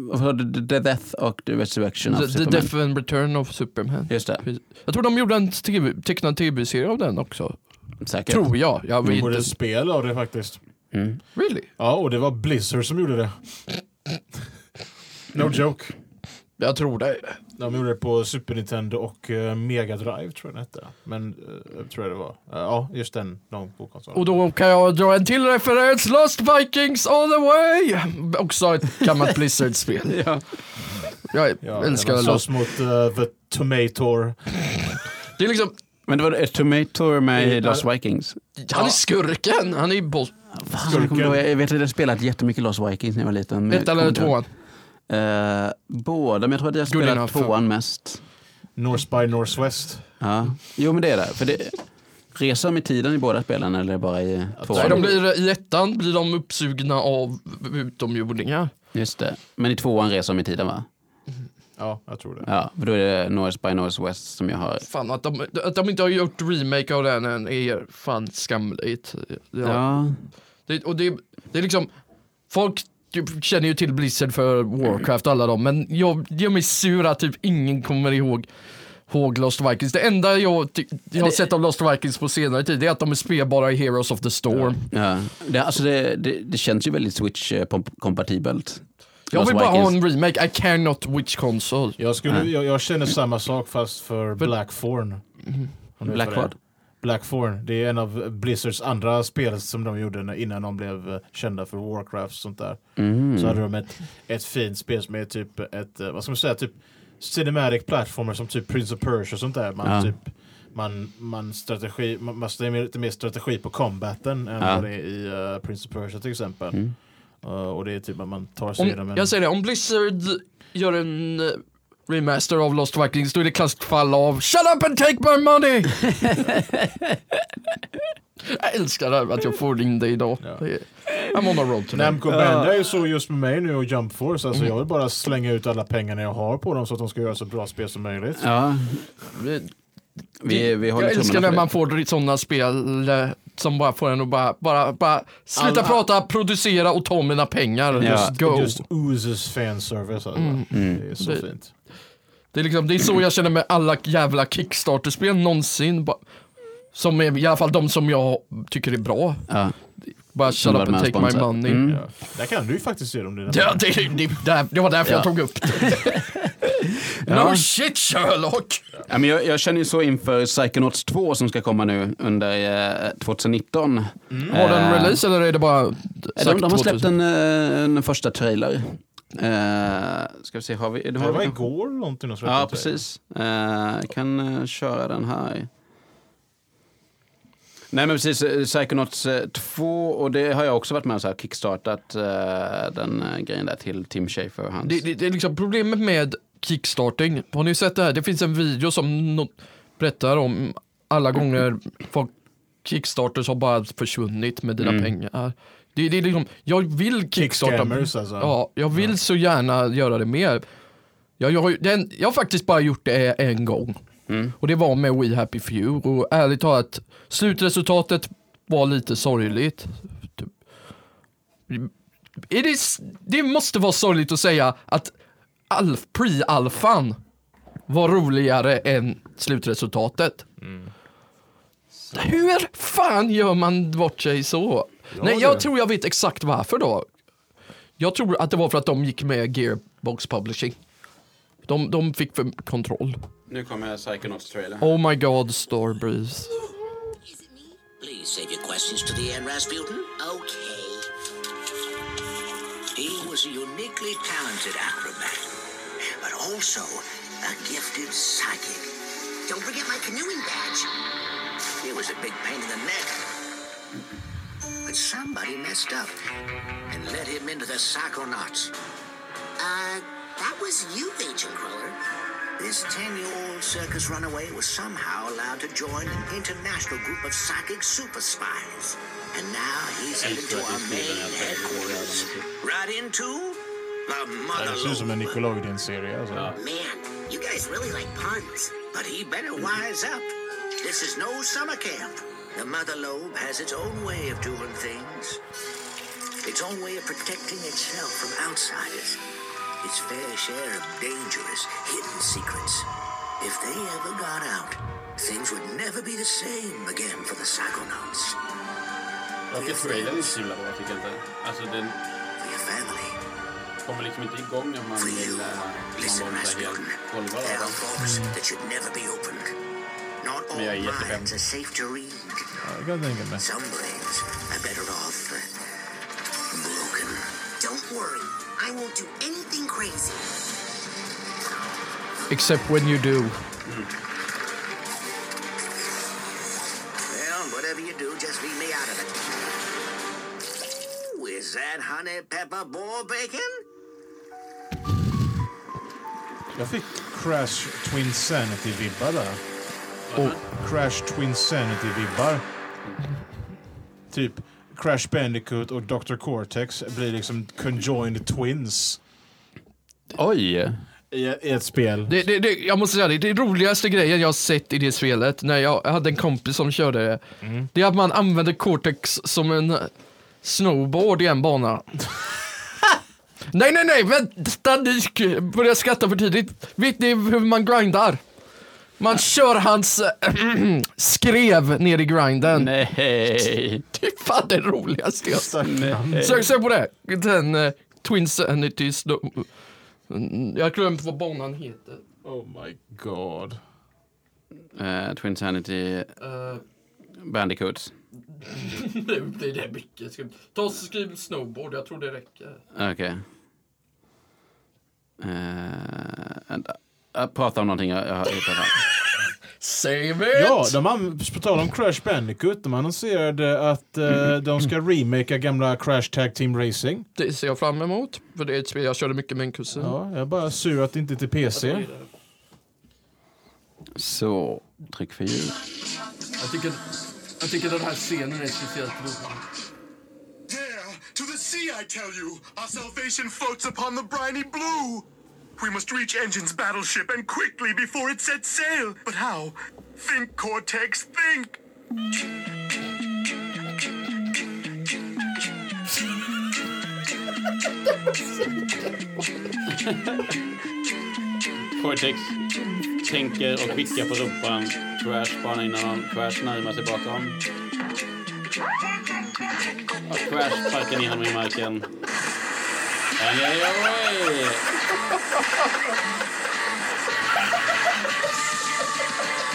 vad sa du? The Death och The Resurrection of The, the Superman. Death and Return of Superman. Just det, Jag tror de gjorde en TV, tecknad tv-serie av den också. säkert. Tror jag. Jag De vet gjorde ett inte. spel av det faktiskt. Mm. Really? Ja, och det var Blizzard som gjorde det. No joke. Jag tror det. De gjorde det på Super Nintendo och eh, Mega Drive tror jag den hette. Men eh, tror jag det var. Eh, ja, just den. De på konsolen. Och då kan jag dra en till referens, Lost Vikings all the way! Också ett gammalt Blizzard-spel. Ja. Jag ja, älskar man Lost. slåss mot eh, The Tomator. Det är liksom, Men det var ett Tomato med i Ja. Lost Vikings. han är skurken, han är ju boss. Fan, jag, kommer ihåg, jag vet att jag spelat jättemycket Lost Vikings när jag var liten. men jag Ettan eller kommer inte ihåg. tvåan. Eh, båda, men jag tror att jag Good spelat enough. tvåan mest. North by Northwest. Ja. Jo, men det är det. För det reser de i tiden i båda spelen eller bara i Nej, tvåan? de blir, eh, I ettan blir de uppsugna av utomjordingar. Just det. Men i tvåan reser de i tiden, va? Ja, jag tror det. Ja, för då är det North by Northwest som jag har Fan, att de, att de inte har gjort remake av den än är fan skamligt. Ja. Ja. Det, och det, det är liksom, folk typ känner ju till Blizzard för Warcraft och alla dem, men jag det gör mig sur att typ ingen kommer ihåg ihåg Lost Vikings. Det enda jag, ty- jag har sett av Lost Vikings på senare tid det är att de är spelbara i Heroes of the Storm. ja. Det, eh, alltså det, det, det känns ju väldigt Switch-kompatibelt. Jag Lost vill bara ha Vikings. en remake. I cannot which console. Jag, skulle, jag, jag känner samma sak fast för Blackthorn. Om du vet Black vad det är. vad? Blackthorn. Det är en av Blizzards andra spel som de gjorde när- innan de blev eh, kända för Warcraft och sånt där. Mm. Så hade de ett, ett fint spel som är typ ett, eh, vad ska man säga, typ cinematic platformer som typ Prince of Persia och sånt där. Man Ja. typ man, man strategi, man, man, det är mer- lite mer strategi på combaten än Ja. Mm. vad det är i eh, Prince of Persia till exempel. Eh, och det är typ att man tar sig igenom Om, en... jag säger det, om Blizzard gör en eh, remaster av Lost Vikings då är det klassiskt fall av Shut up and take my money! jag älskar det här att jag får in dig idag. Ja. Det är- I'm on a road today. Namco Bandai är så just med mig nu och Jump Force. Mm. Alltså jag vill bara slänga ut alla pengarna jag har på dem så att de ska göra så bra spel som möjligt. Ja, vi, vi håller jag älskar tummarna när för man det. får sådana spel eh, som bara får en att bara, bara, bara sluta Alla- prata, producera och ta mina pengar. Ja. Just go. Just oozes fanservice. Alltså. Mm. Det är så Mm. Det- fint. Det är, liksom, det är så jag känner med alla jävla Kickstarter-spel någonsin. Ba- Som är, i alla fall de som jag tycker är bra. Ja. Bara shut var up de and här take my sponsrar. money. Mm. Ja. Där kan du ju faktiskt se dem dina Ja, det, det, det, det var därför Ja. jag tog upp det. Ja. No shit Sherlock! Ja, men jag, jag känner ju så inför Psychonauts 2 som ska komma nu under eh, 2019. Mm. Har den Eh, release eller är det bara De, sagt de har 2000? släppt en, eh, en första trailer. Eh, ska vi se, har vi... Det Har var vi igår eller någonting. de släppte ja, till. precis. Eh, kan eh, köra den här. Nej men precis, eh, Psychonauts eh, 2 och det har jag också varit med och så här kickstartat eh, den eh, grejen där till Tim Schafer och hans. Det, det, det är liksom problemet med kickstarting. Har ni sett det här? Det finns en video som no- berättar om alla gånger folk kickstarters har bara försvunnit med dina pengar. Det, det är liksom, jag vill kickstarta. Kickscammers alltså. Ja, jag vill så gärna göra det mer. Jag, jag, har, ju- den, jag har faktiskt bara gjort det en gång. Mm. Och det var med We Happy Few. Och ärligt talat, slutresultatet var lite sorgligt. Typ. Är det, s- det måste vara sorgligt att säga att alf, pre-alfan var roligare än slutresultatet. Mm. Hur fan gör man bort sig så? Ja, Nej, jag det. tror jag vet exakt varför då. Jag tror att det var för att de gick med Gearbox Publishing. De, de fick för kontroll. Nu kommer Psychonauts trailer. Oh my god, Starbreeze. Please save your questions to the end, Rasputin. Okay. He was a uniquely talented acrobat, but also a gifted psychic. Don't forget my canoeing badge. It was a big pain in the neck. But somebody messed up and led him into the psychonauts. Uh, that was you, Agent Crawler. This 10-year-old circus runaway was somehow allowed to join an international group of psychic super spies. And now he's headed to our main headquarters. Right into the Det ser ut som en mother Nickelodeon-serie. Alltså. Man, you guys really like puns. But he better wise up. This is no summer camp. The mother lobe has its own way of doing things. Its own way of protecting itself from outsiders. Its fair share of dangerous, hidden secrets. If they ever got out, things would never be the same again for the Psychonauts. Jag tycker trailern är så himla bra, tycker jag inte. Alltså den For your family. kommer liksom inte igång när man For vill... you. eh, Man Listen, var inte Rasputin. helt golvad There av are den. doors that should never be opened. Not all jag är jättefem. minds are safe to read. Ja, jag kan tänka mig. Some brains are better off uh, broken. Don't worry, I won't do anything crazy. Except when you do. Well, whatever you do, just leave me out of it. Ooh, is that honey pepper boar bacon? Jag fick Crash Twin Sanity-vibbar där. Och Crash Twin Sanity-vibbar. Typ Crash Bandicoot och Dr. Cortex blir liksom conjoined twins Oj! i, i ett spel. Det, det, det, jag måste säga det, det roligaste grejen jag har sett i det spelet, när jag hade en kompis som körde det, det är att man använder Cortex som en snowboard i en bana. nej, nej, nej, vänta, ni sk- börjar skratta för tidigt. Vet ni hur man grindar? Man kör hans skrev ner i grinden. Nej! Det är fan det roligaste jag Stackarn. Sök, sök på det. Den eh, Twin Sanities. De, Mm, jag har glömt vad banan heter. Oh my god. Eh, Twin Sanity Eh, Bandicoots. nu blir det mycket. Ska- Ta och skriv snowboard, jag tror det räcker. Okej. Eh, vänta. Jag pratar om någonting jag, jag har hittat här. Save it! Ja, de an- på tal om Crash Bandicoot, de annonserade att eh, de ska remakea gamla Crash Tag Team Racing. Det ser jag fram emot. För det är ett spel jag körde mycket med en kusin. Ja, jag är bara sur att det inte är till PC. Så, tryck för ljud. Jag, tycker, jag tycker den här scenen är speciellt rolig. Dare to the sea, I tell you! Our salvation floats upon the briny blue! We must reach Engine's battleship and quickly before it sets sail! But how? Think, Cortex, think! Cortex. Tänker och skickar på rumpan. Crash bara innan han Crash närmar sig bakom. Och Crash sparkar ner honom i marken. Aj, aj, aj.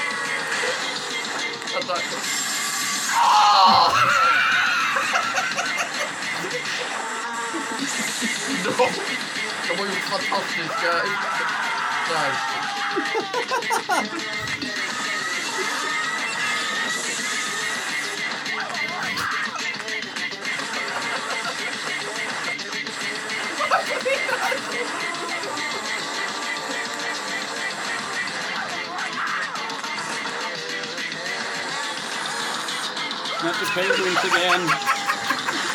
De har gjort fantastiska... Där. Not the penguins again.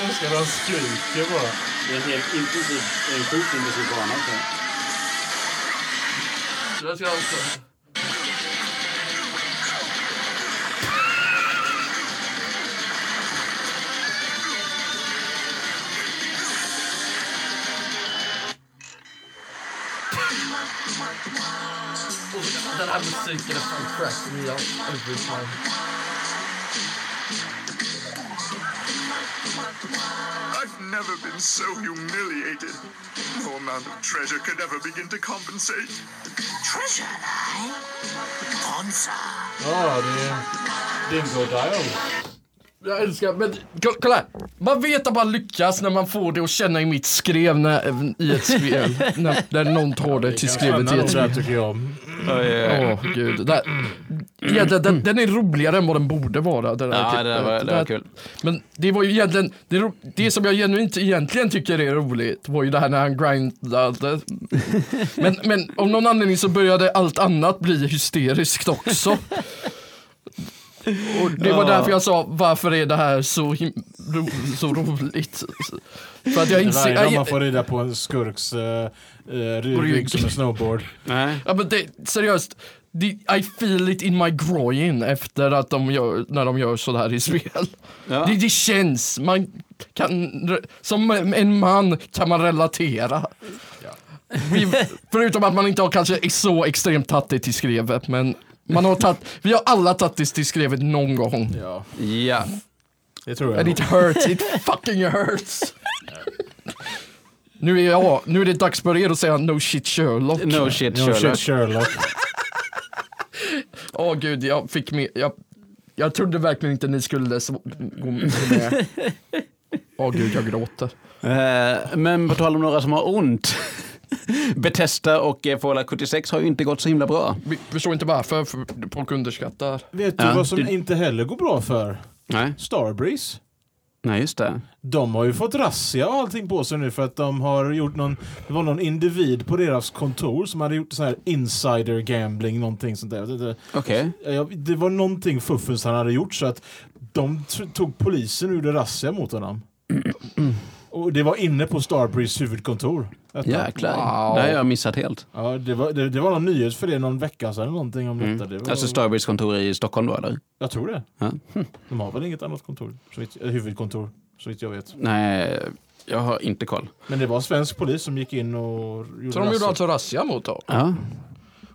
Jag ska de skrika bara. Det är en helt intensiv, en sjukt intensiv bana också. Så där ska jag alltså... Oh, Den här musiken är fan crack me up every time. I've never been so humiliated. No amount of treasure could ever begin to compensate. Treasure, I? Bonza. Ja, det är Dingo Dio. Jag älskar, men ko- kolla här. Man vet att man lyckas när man får det att känna i mitt skrev när, i ett spel. när, när någon tar det till skrevet i ett spel. där tycker jag. Åh Mm, gud. Där, ja, den, den, den är roligare än vad den borde vara. Den här Ja, klippen. det där var, det där- var kul. Men det var ju egentligen, det, ro- det som jag genuint egentligen tycker är roligt var ju det här när han grindade. Men, men av någon anledning så började allt annat bli hysteriskt också. Och det var därför jag sa, varför är det här så, him- ro, så roligt? För att jag inser... Varje gång man Jag, får rida på en skurks eh, eh, rygg som en snowboard. Nej. ja, men det, seriöst, det, I feel it in my groin efter att de gör, när de gör sådär i spel. Ja. Det, det känns, man kan, som en man kan man relatera. Vi, förutom att man inte har kanske är så extremt tattigt till skrevet, men man har tatt, vi har alla tattigt till skrevet någon gång. Ja, ja. det tror And jag. it hurts, it fucking hurts. nu, är jag, nu är det dags för er att säga no shit Sherlock. Åh No shit, No shit Sherlock. Sherlock. gud, jag fick med, jag, jag trodde verkligen inte ni skulle så, gå med. Åh gud, jag gråter. Eh, men på tal om några som har ont. Bethesda och eh, Fallout 76 har ju inte gått så himla bra. Vi förstår inte varför för folk underskattar. Vet du Ja, vad som det- inte heller går bra för? Nej, Starbreeze. Nej just det. De har ju fått razzia och allting på sig nu för att de har gjort någon, det var någon individ på deras kontor som hade gjort så här insider gambling, någonting sånt där. Jag vet inte. Okej. Ja, Det var någonting fuffens han hade gjort så att de t- tog polisen och gjorde razzia mot honom. Och det var inne på Starbreeze huvudkontor. Detta. Jäklar. Wow. Det har jag missat helt. Ja, det, var, det, det var någon nyhet för det någon vecka sedan eller någonting om detta. Det var, Alltså Starbreeze kontor i Stockholm då eller? jag tror det. Ja. De har väl inget annat kontor? så vitt- eh, Huvudkontor. Så vitt jag vet. Nej, jag har inte koll. Men det var svensk polis som gick in och gjorde Så de gjorde razzia. alltså razzia mot dem? Ja,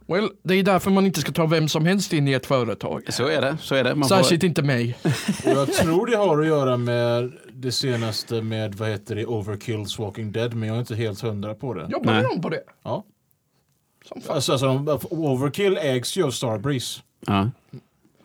Well, det är därför man inte ska ta vem som helst in i ett företag. så är det. Så är det. Man Särskilt inte mig. Och jag tror det har att göra med det senaste med, vad heter det, Overkills Walking Dead, men jag är inte helt hundra på det. Jobbar Nej. de på det? Ja. Som fan. Alltså, alltså, de, Overkill ägs ju av Starbreeze. Får, ja.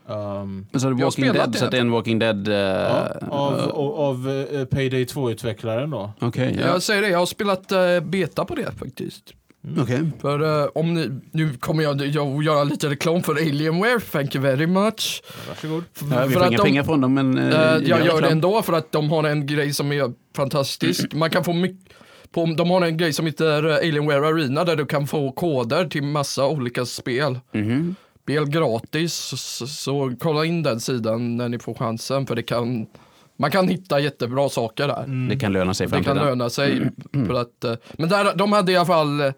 Ehm, Men så är det Um, Jag har Walking spelat Dead, det. så att det är en Walking Dead... eh, ja, av av, av eh, Payday 2-utvecklaren då. Okej, ja. Jag säger det, jag har spelat eh, beta på det faktiskt. Okej. För eh, om ni, nu kommer jag, jag göra lite reklam för Alienware, thank you very much. Varsågod. Ja, vi För får att inga de- pengar från dem, men... eh, Eh, jag gör det reklam. ändå för att de har en grej som är fantastisk. Man kan få mycket på, de har en grej som heter eh, Alienware Arena där du kan få koder till massa olika spel. Spel gratis, så, så kolla in den sidan när ni får chansen för det kan, man kan hitta jättebra saker där. Det kan löna sig i Det kan framtiden. löna Mm. sig. För att, eh, men där, de hade i alla fall, eh,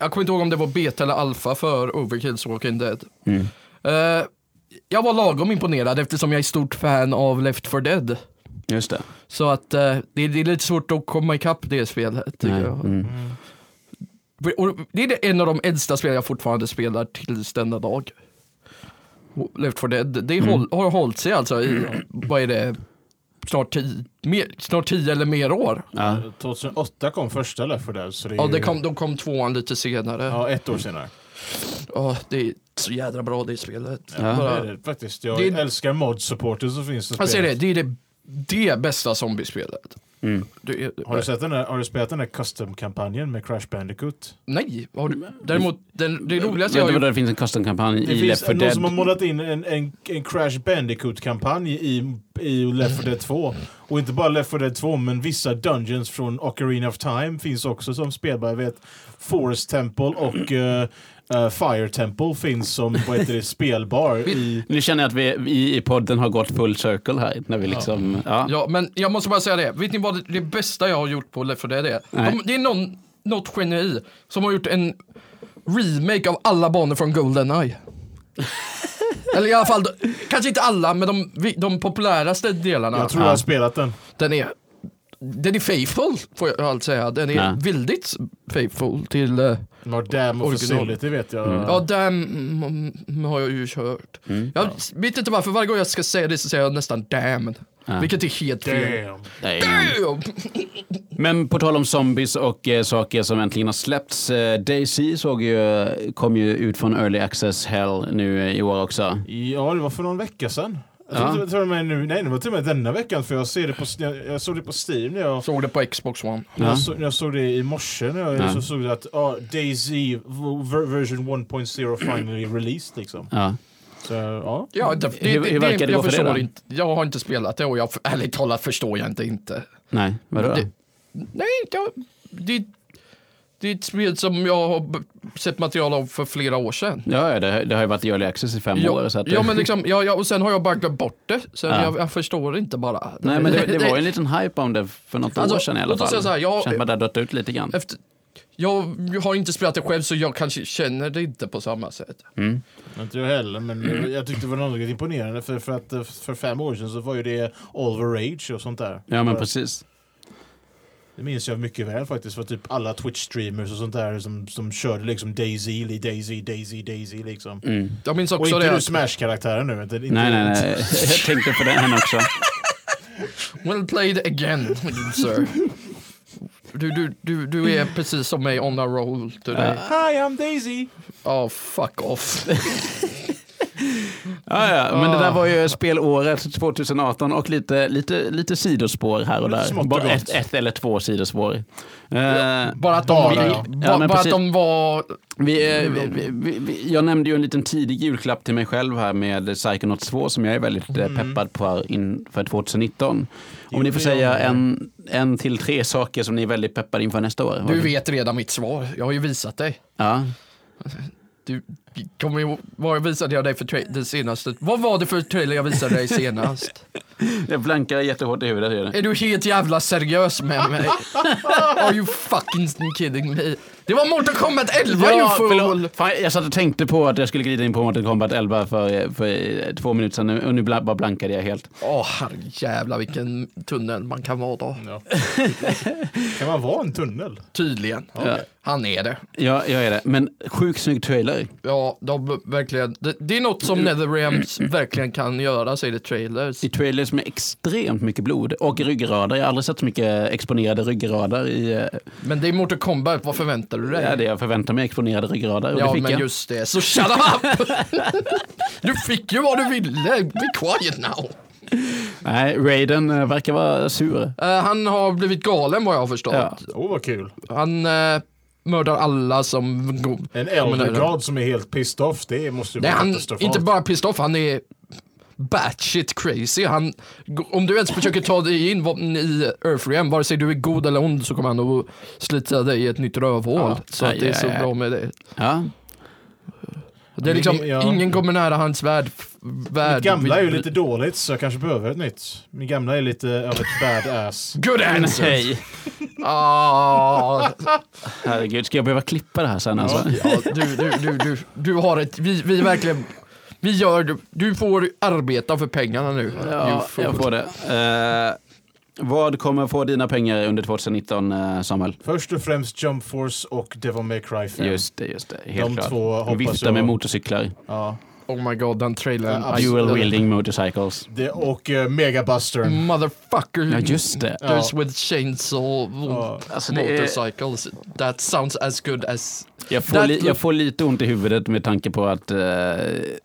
jag kommer inte ihåg om det var beta eller alfa för Overkills Walking Dead. Mm. Eh, jag var lagom imponerad eftersom jag är stort fan av Left 4 Dead. Just det. Så att eh, det, det är lite svårt att komma ikapp det spelet. Tycker Nej. jag. Mm. Och det är det- en av de äldsta spel jag fortfarande spelar tills denna dag. Och Left 4 Dead, det Mm. håll, har hållit sig alltså i, vad är det, snart 10 mer- snart 10 eller mer år. Ja. 2008 kom första Left 4 Dead, så det är Ja, ju- det kom, de kom tvåan lite senare. Ja. Ja, ett år senare. det är så jädra bra det spelet. Det Bara, är det faktiskt. Jag Det- älskar mod-supporten som finns i jag ser det, spelet. det är det, det bästa zombiespelet. Det är, Mm. Har du, sett den här, har du spelat den här custom-kampanjen med Crash Bandicoot? Nej, har du, däremot den, det roligaste jag Vänta, har vadå, gjort. det finns en custom-kampanj Det i finns Left 4 någon som har Dead. målat in en, en, en Crash Bandicoot-kampanj i, i Left 4 Dead 2. Och inte bara Left 4 Dead 2, men vissa dungeons från Ocarina of Time finns också som spelbar. Jag vet, Forest Temple och eh, eh, Fire Temple finns som vad heter det, spelbar i... Nu känner jag att vi vi i podden har gått full circle här. När vi liksom, ja. Ja, men jag måste bara säga det. Vet ni vad det, det bästa jag har gjort på Left 4 Dead är? Nej. De, det är någon, något geni som har gjort en remake av alla banor från Goldeneye. Eller i alla fall, kanske inte alla, men de, de populäraste delarna. Jag tror jag har spelat den. Den är, den är faithful, får jag allt säga. Den är Ja. väldigt faithful till... eh, Den har Dam och Original. Facility vet jag. Ja, damn mm, har jag ju kört. Mm. jag vet inte varför, varje gång jag ska säga det så säger jag nästan damn. Vilket är helt fel. Damn. Nej. Damn. Men på tal om zombies och eh, saker som äntligen har släppts. Eh, Daisy såg ju, kom ju ut från Early Access Hell nu eh, i år också. Ja, det var för någon vecka sedan. Jag tror, till och med nu, nej, det var till och med denna veckan för jag, ser det på, jag, jag såg det på Steam när jag, Såg det på Xbox One. när jag, såg, när jag såg det i morse. När jag, Ja. så såg det att ah, DayZ ver- version 1.0 finally released liksom. Ja. Så, ja. Ja, det, det, Hur- det, hur verkar det jag gå för dig förstår då? inte. Jag har inte spelat det och jag, ärligt talat förstår jag inte. inte. Nej, vadå? Det- Nej, jag, det, det är ett spel som jag har b- sett material av för flera år sedan. Ja, ja, det, det har ju varit i Early Access i fem år. Ja, Så att, ja men liksom, ja, ja, och sen har jag bara glömt bort det. Sen Ja. jag, jag förstår inte bara. Nej, men det, det var ju en liten hype om det för något Alltså, år sedan i alla låt oss fall. säga så här, jag- Känns som att det har dött ut lite grann. Efter, jag, har inte spelat det själv så jag kanske känner det inte på samma sätt. Mm. Inte jag heller, men jag tyckte det var något imponerande för, för att eh, för fem år sedan så var ju det All the Rage och sånt där. Ja, men precis. Det minns jag mycket väl faktiskt, för typ alla Twitch-streamers och sånt där som, som körde liksom DayZ, DayZ, DayZ, DayZ liksom. Jag minns Och också inte det. du att- Smash-karaktären nu. Inte, inte, Mm. Nej, nej, nej. Jag tänkte på den också. Well played again, sir. Du, du, du, du är precis som mig on a roll today. Hi, I'm Daisy! Oh, fuck off. Ja, ja, men det där var ju spelåret 2018 och lite, lite, lite sidospår här och där. Smått och Bara gott. ett, ett eller två sidospår. Eh, Bara att de, Bara, vi- ja. ba- Ja, men bara att precis. de var... vi, eh, vi, vi, vi, jag nämnde ju en liten tidig julklapp till mig själv här med Psychonauts 2 som jag är väldigt eh, peppad på inför 2019. Om ni får säga en, en till tre saker som ni är väldigt peppade inför nästa år. Du vet redan mitt svar. Jag har ju visat dig. Ja. Du kommer ihåg vad visade jag dig för tra- det senaste? Vad var det för trailer jag visade dig senast? Jag blankar jättehårt i huvudet. gör det. Är du helt jävla seriös med mig? Are you fucking kidding me? Det var Mortal Kombat 11 Ja, ju fool! förlåt. Fan, jag satt och tänkte på att jag skulle glida in på Mortal Kombat 11 för, för eh, två minuter sedan och nu bla- bara blankade jag helt. Åh herrejävlar vilken tunnel man kan vara då. Kan man vara en tunnel? Tydligen. Han är det. Ja, jag är det. Men sjukt snygg trailer. Ja, de, verkligen. Det, det är något Mm. som Netherrealms verkligen kan göra, säger det trailers. I trailers med extremt mycket blod och ryggrader. Jag har aldrig sett så mycket exponerade ryggrader i... eh, Men det är Mortal Kombat, vad förväntar du dig? Ja, det jag förväntar mig exponerade ryggrader och Ja, det fick men jag. just det. Så shut up! du fick ju vad du ville. Be quiet now. Nej, Raiden eh, verkar vara sur. Eh, han har blivit galen vad jag har förstått. Ja. Åh, vad kul. Han eh, mördar alla som... En Ja, men det- eldergrad som är helt pissed off, det måste ju Nej, vara han katastrofalt. inte bara pissed off, han är batshit crazy. Han, om du ens försöker ta dig in vad- i Earthrealm, vare sig du är god eller ond, så kommer han att slita dig i ett nytt rövhål. Ja. Så att det är så Aj, aj, aj. bra med det. Ja. Det är liksom, Ja. ingen kommer nära hans värld. f- värld. Mitt gamla är ju lite dåligt så jag kanske behöver ett nytt. Min gamla är lite av ett badass. Good answer! Hej. Ah, Herregud, ska jag behöva klippa det här sen alltså? ja, du, du, du, du, du har ett, vi, vi verkligen, vi gör, du får arbeta för pengarna nu. You Ja, fool. jag får det. Eh, vad kommer få dina pengar under 2019, eh, Samuel? Först och främst Jump Force och Devil May Cry 5. Just det, just det. Helt De klart. två hoppas Vifta jag- med motorcyklar. Ja. Oh my god, den trailern. Ja, Dual wielding motorcycles. Det, och uh, Megabustern. Mm. Motherfucker. Ja, just det. There's with chainsaw ja. Alltså, det är- motorcycles. That sounds as good as... Jag får, That li- jag look- får lite ont i huvudet med tanke på att... eh,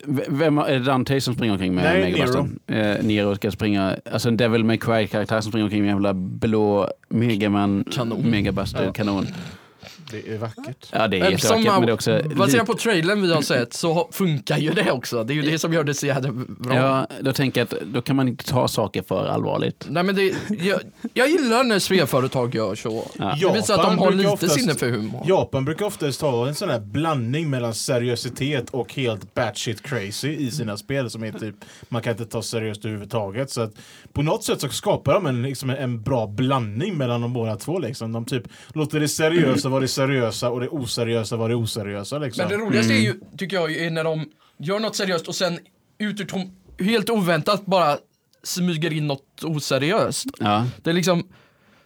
v- vem har- är det Dante som springer omkring med Nej, Megabustern? Nero. Nero ska springa... Alltså en Devil May Cry-karaktär som springer omkring med en jävla blå Megaman Kanon. Megabuster-kanon. Det är vackert. Ja, det är Eh, jättevackert men det är också... baserat lite- på trailern vi har sett så ha- funkar ju det också. Det är ju det som gör det så jävla bra. Ja, då tänker jag att då kan man inte ta saker för allvarligt. Nej, men det, jag, jag gillar när spelföretag gör så. Det visar att de Japan har brukar lite oftast- sinne för humor. Japan brukar oftast ha en sån här blandning mellan seriositet och helt batshit crazy i sina spel som är typ, man kan inte ta seriöst överhuvudtaget. Så att på något sätt så skapar de en, liksom en bra blandning mellan de båda två liksom. De typ låter det seriösa vara det seriösa och det oseriösa vara det oseriösa liksom. Men det roligaste är ju, tycker jag, är när de gör något seriöst och sen ut ur tom, helt oväntat bara smyger in något oseriöst. Ja. Det är liksom,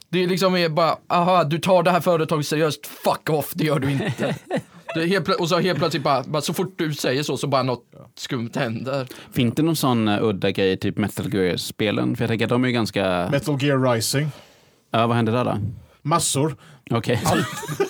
det är liksom är bara, aha, du tar det här företaget seriöst, fuck off, det gör du inte. Det är helt plö- och så helt plötsligt bara, bara, så fort du säger så, så bara något skumt händer. Finns det någon sån eh, udda grej i typ Metal Gear-spelen? För jag tänker att de är ju ganska... Metal Gear Rising. Ja, vad händer där då? Massor. Okej.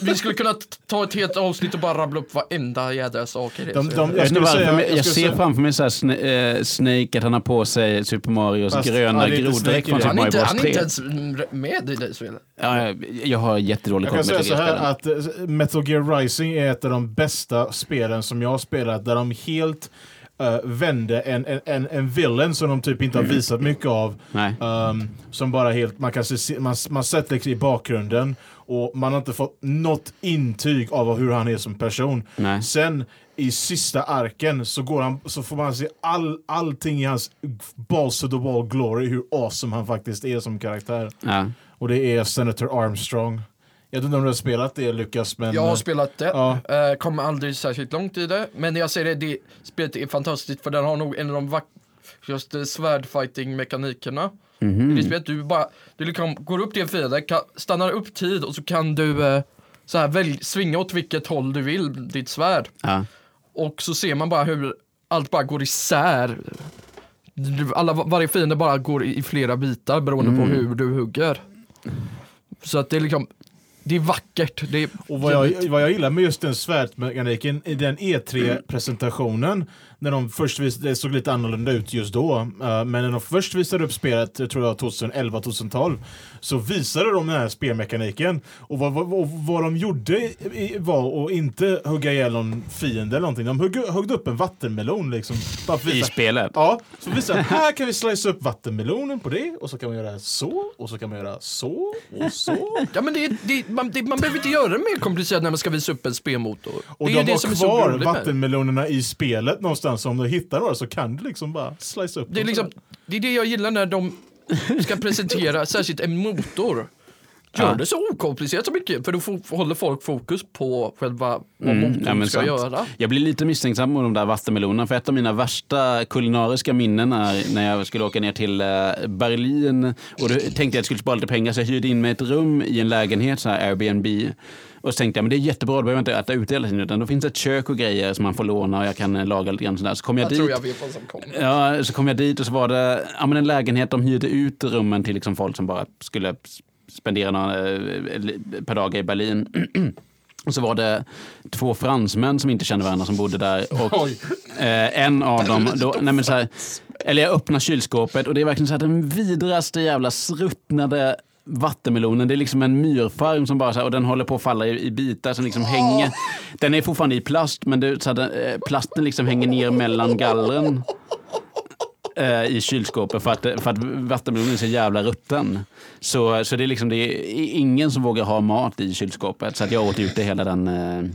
Vi skulle kunna t- ta ett helt avsnitt och bara rabbla upp varenda jädra sak i det. De, de, Jag, vet skulle inte varför, säga- men jag, skulle ser säga- framför mig så här sna eh, Snake, att han har på sig Super Marios Fast- ja, gröna det är inte Snake i groddräkt det. från Super han är, Mario inte, Bros han är 3. inte ens mm, med i det spelet. Ja, jag- jag har jättedålig Jag koll kan på säga Metal så här Gear-spelen. att eh, Metal Gear Rising är ett av de bästa spelen som jag har spelat där de helt eh, vände en, en- en, en villain som de typ inte har visat mycket av. Mm. Nej. Ehm, som bara helt, man kan se, man, man sett liksom i bakgrunden och man har inte fått något intyg av hur han är som person. Nej. Sen i sista arken så, går han, så får man se all, allting i hans balls to the wall glory, hur awesome han faktiskt är som karaktär. Ja. Och det är Senator Armstrong. Jag vet inte om du har spelat det Lukas, men... Jag har spelat det, Ja. eh, kom aldrig särskilt långt i det. Men jag säger det, det spelet är fantastiskt för den har nog en av de vackraste svärdfighting-mekanikerna. Mhm. i Det spelet, du bara, du liksom går upp till en fiende, kan, stannar upp tid och så kan du eh, så här, välj, svinga åt vilket håll du vill, ditt svärd. Ja. Och så ser man bara hur allt bara går isär. Du- Alla, varje fiende bara går i flera bitar beroende på Mm. hur du hugger. Så att det är liksom, det är vackert. Det är Och vad jag, vad jag gillar med just den svärdmekaniken i den E3-presentationen, när de först vis, det såg lite annorlunda ut just då, eh, men när de först visade upp spelet, jag tror jag 2011-2012, så visade de den här spelmekaniken. Och vad, vad, vad, vad de gjorde i- i- var att inte hugga ihjäl någon fiende eller någonting. De hugg, huggde upp en vattenmelon liksom. Bara för att I visa- spelet? Ja, så visar jag, här kan vi slicea upp vattenmelonen på det, och så kan man göra så, och så kan man göra så, och så. Ja men det, det, man, det, man behöver inte göra det mer komplicerat när man ska visa upp en spelmotor. Och det de är det har som är så kvar roligt med det. vattenmelonerna i spelet någonstans, så om du hittar några så kan du liksom bara slice upp Det är, dem. liksom, det är det jag gillar när de ska presentera särskilt en motor. Gör det så okomplicerat som mycket, för då fo- håller folk fokus på själva vad motorn Mm. Ja, men Mm. ska sant. göra. Jag blir lite misstänksam mot de där vattenmelonerna för ett av mina värsta kulinariska minnen är när jag skulle åka ner till eh, Berlin och då tänkte jag att jag skulle spara lite pengar så jag hyrde in mig ett rum i en lägenhet, så här Airbnb. Och så tänkte jag men det är jättebra, då behöver jag inte äta ute hela tiden utan då finns det ett kök och grejer som man får låna och jag kan eh, laga lite grann sådär. Så kom jag, Jag dit tror jag vet vad som kommer. Ja, så kom jag dit och så var det ja, men en lägenhet. De hyrde ut rummen till liksom folk som bara skulle s- spendera några, eh, li- per dag i Berlin. Och så var det två fransmän som inte kände varandra som bodde där. Och eh, en av dem... Då, nej men så här, eller jag öppnar kylskåpet och det är verkligen så här, den vidraste jävla sruttnade vattenmelonen. Det är liksom en myrfarm som bara så här, och den håller på att falla i, i bitar som liksom hänger. Den är fortfarande i plast men det, så här, den, eh, plasten liksom hänger ner mellan gallren eh, i kylskåpet för att, för att vattenmelonen är så jävla rutten. Så, så det är liksom det är ingen som vågar ha mat i kylskåpet. Så att jag åt ute hela den, eh,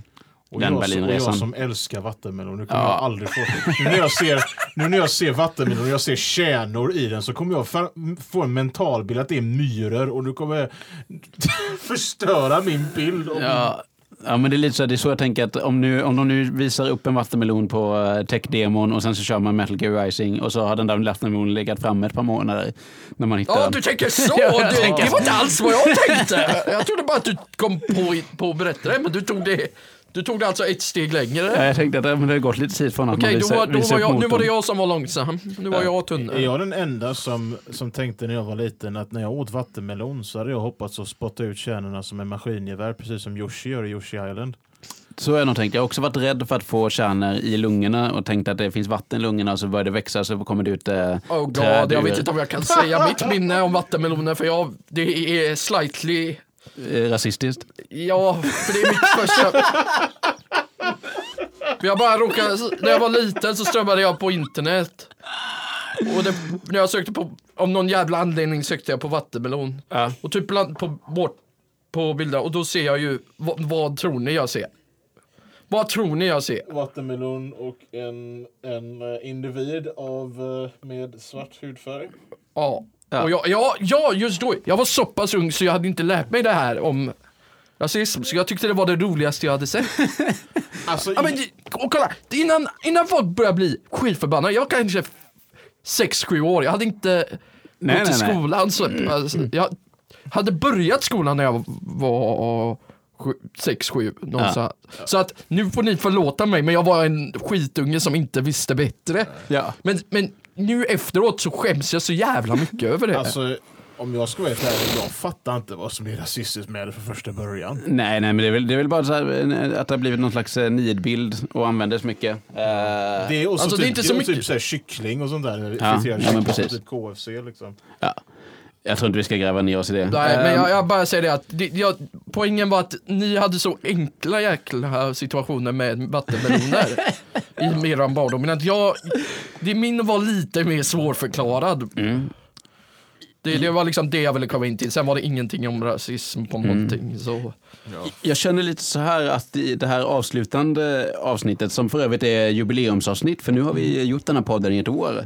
Och jag, som- och den jag Berlinresan. som älskar vattenmelon, nu kommer jag aldrig få... Nu när jag ser, nu när jag ser vattenmelon och jag ser kärnor i den så kommer jag fa- få en mental bild att det är myror och nu kommer jag förstöra min bild. Och, Ja, ja, men det är lite så, här, det är så jag tänker att om, nu, om de nu visar upp en vattenmelon på eh, tech-demon och sen så kör man Metal Gear Rising och så har den där vattenmelonen legat framme ett par månader när man hittar Ja, den. du tänker så! Jag Det, tänker det så. var inte alls vad jag tänkte! Jag trodde bara att du kom på, på att berätta det, men du tog det, du tog det alltså ett steg längre. Ja, jag tänkte att ja, men det har gått lite tid från att Okej, man då visar, var, då visar var upp jag, nu var det motorn. jag som var långsam. Nu var jag är tunnare. jag den enda som, som tänkte när jag var liten att när jag åt vattenmelon så hade jag hoppats att spotta ut kärnorna som en maskingevär precis som Yoshi gör i Yoshi Island. Så har jag nog tänkt. Jag har också varit rädd för att få kärnor i lungorna och tänkt att det finns vatten i lungorna och så börjar det växa så kommer det ut eh, Oh god, träd jag ur, vet inte om jag kan säga mitt minne om vattenmeloner för jag, det är slightly, eh, rasistiskt. ja, för det är mitt första. Men jag bara råkade, när jag var liten så strömmade jag på internet. Och det, när jag sökte på, om någon jävla anledning sökte jag på vattenmelon. Och typ bland, på, bort, på bilder, och då ser jag ju, vad, vad tror ni jag ser? Vad tror ni jag ser? Vattenmelon och en, en eh, individ av, eh, med svart hudfärg. Ja. Och jag, ja, ja, just då. Jag var så pass ung så jag hade inte lärt mig det här om rasism, så jag tyckte det var det roligaste jag hade sett. Alltså, ja, men, och kolla, innan, innan folk började bli skitförbannade, jag var kanske 6-7 år, jag hade inte Nej, gått i nej, nej. Mm, skolan. Så, alltså, jag hade börjat skolan när jag var 6-7 någonstans. Så att nu får ni förlåta mig, men jag var en skitunge som inte visste bättre. Ja. Men, men nu efteråt så skäms jag så jävla mycket över det. Alltså, om jag ska vara helt ärlig, jag fattar inte vad som är rasistiskt med det från första början. Nej, nej, men det är väl, det är väl bara så här, eh, att det har blivit någon slags eh, nidbild och användes mycket. Eh, Det är också Alltså, typ, det är inte så och mycket- typ så här kyckling och sånt där. ja, friterad men kyckling, precis. Typ KFC liksom. jag tror inte vi ska gräva ner oss i det. Nej, men Eh, jag, jag bara säger det att det, jag, poängen var att ni hade så enkla jäkla situationer med vattenmeloner i er barndom. Men att jag, det min var lite mer svårförklarad. Mm. Det, det var liksom det jag ville komma in till. Sen var det ingenting om rasism Mm. på någonting. Så. Jag känner lite så här att i det här avslutande avsnittet, som för övrigt är jubileumsavsnitt, för nu har vi gjort den här podden i ett år. Eh,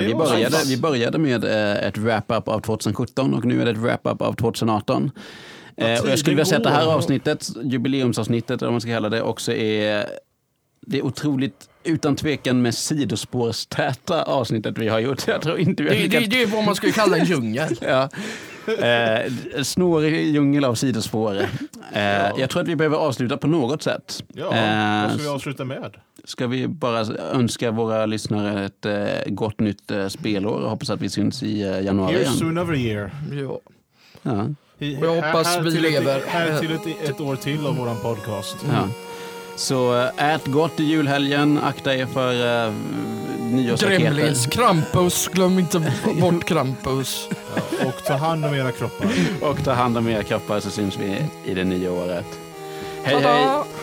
vi, var började, sant. vi började med eh, ett wrap-up av 2017 och nu är det ett wrap-up av 2018. Eh, och jag skulle vilja säga att det här går. avsnittet, jubileumsavsnittet eller vad man ska kalla det, också är det är otroligt, utan tvekan med sidospårstäta avsnittet vi har gjort. Jag tror inte vi har Det, det, lyckats det är vad man skulle kalla en djungel. Ja. Eh, snårig djungel av sidospår. Eh, Jag tror att vi behöver avsluta på något sätt. Ja, vad eh, ska vi avsluta med? ska vi bara önska våra lyssnare ett eh, gott nytt eh, spelår och hoppas att vi syns i eh, januari Here igen. soon every year. Ja. Ja. He- Och jag hoppas här vi till ett- lever. Här till ett, ett år till av våran podcast. Ja. Så eh, ät gott i julhelgen, akta er för eh, nyårsraketer. Gremlins, Krampus, glöm inte bort Krampus. Och ta hand om era kroppar. Och ta hand om era kroppar så syns vi i det nya året. Hej hej! Tada!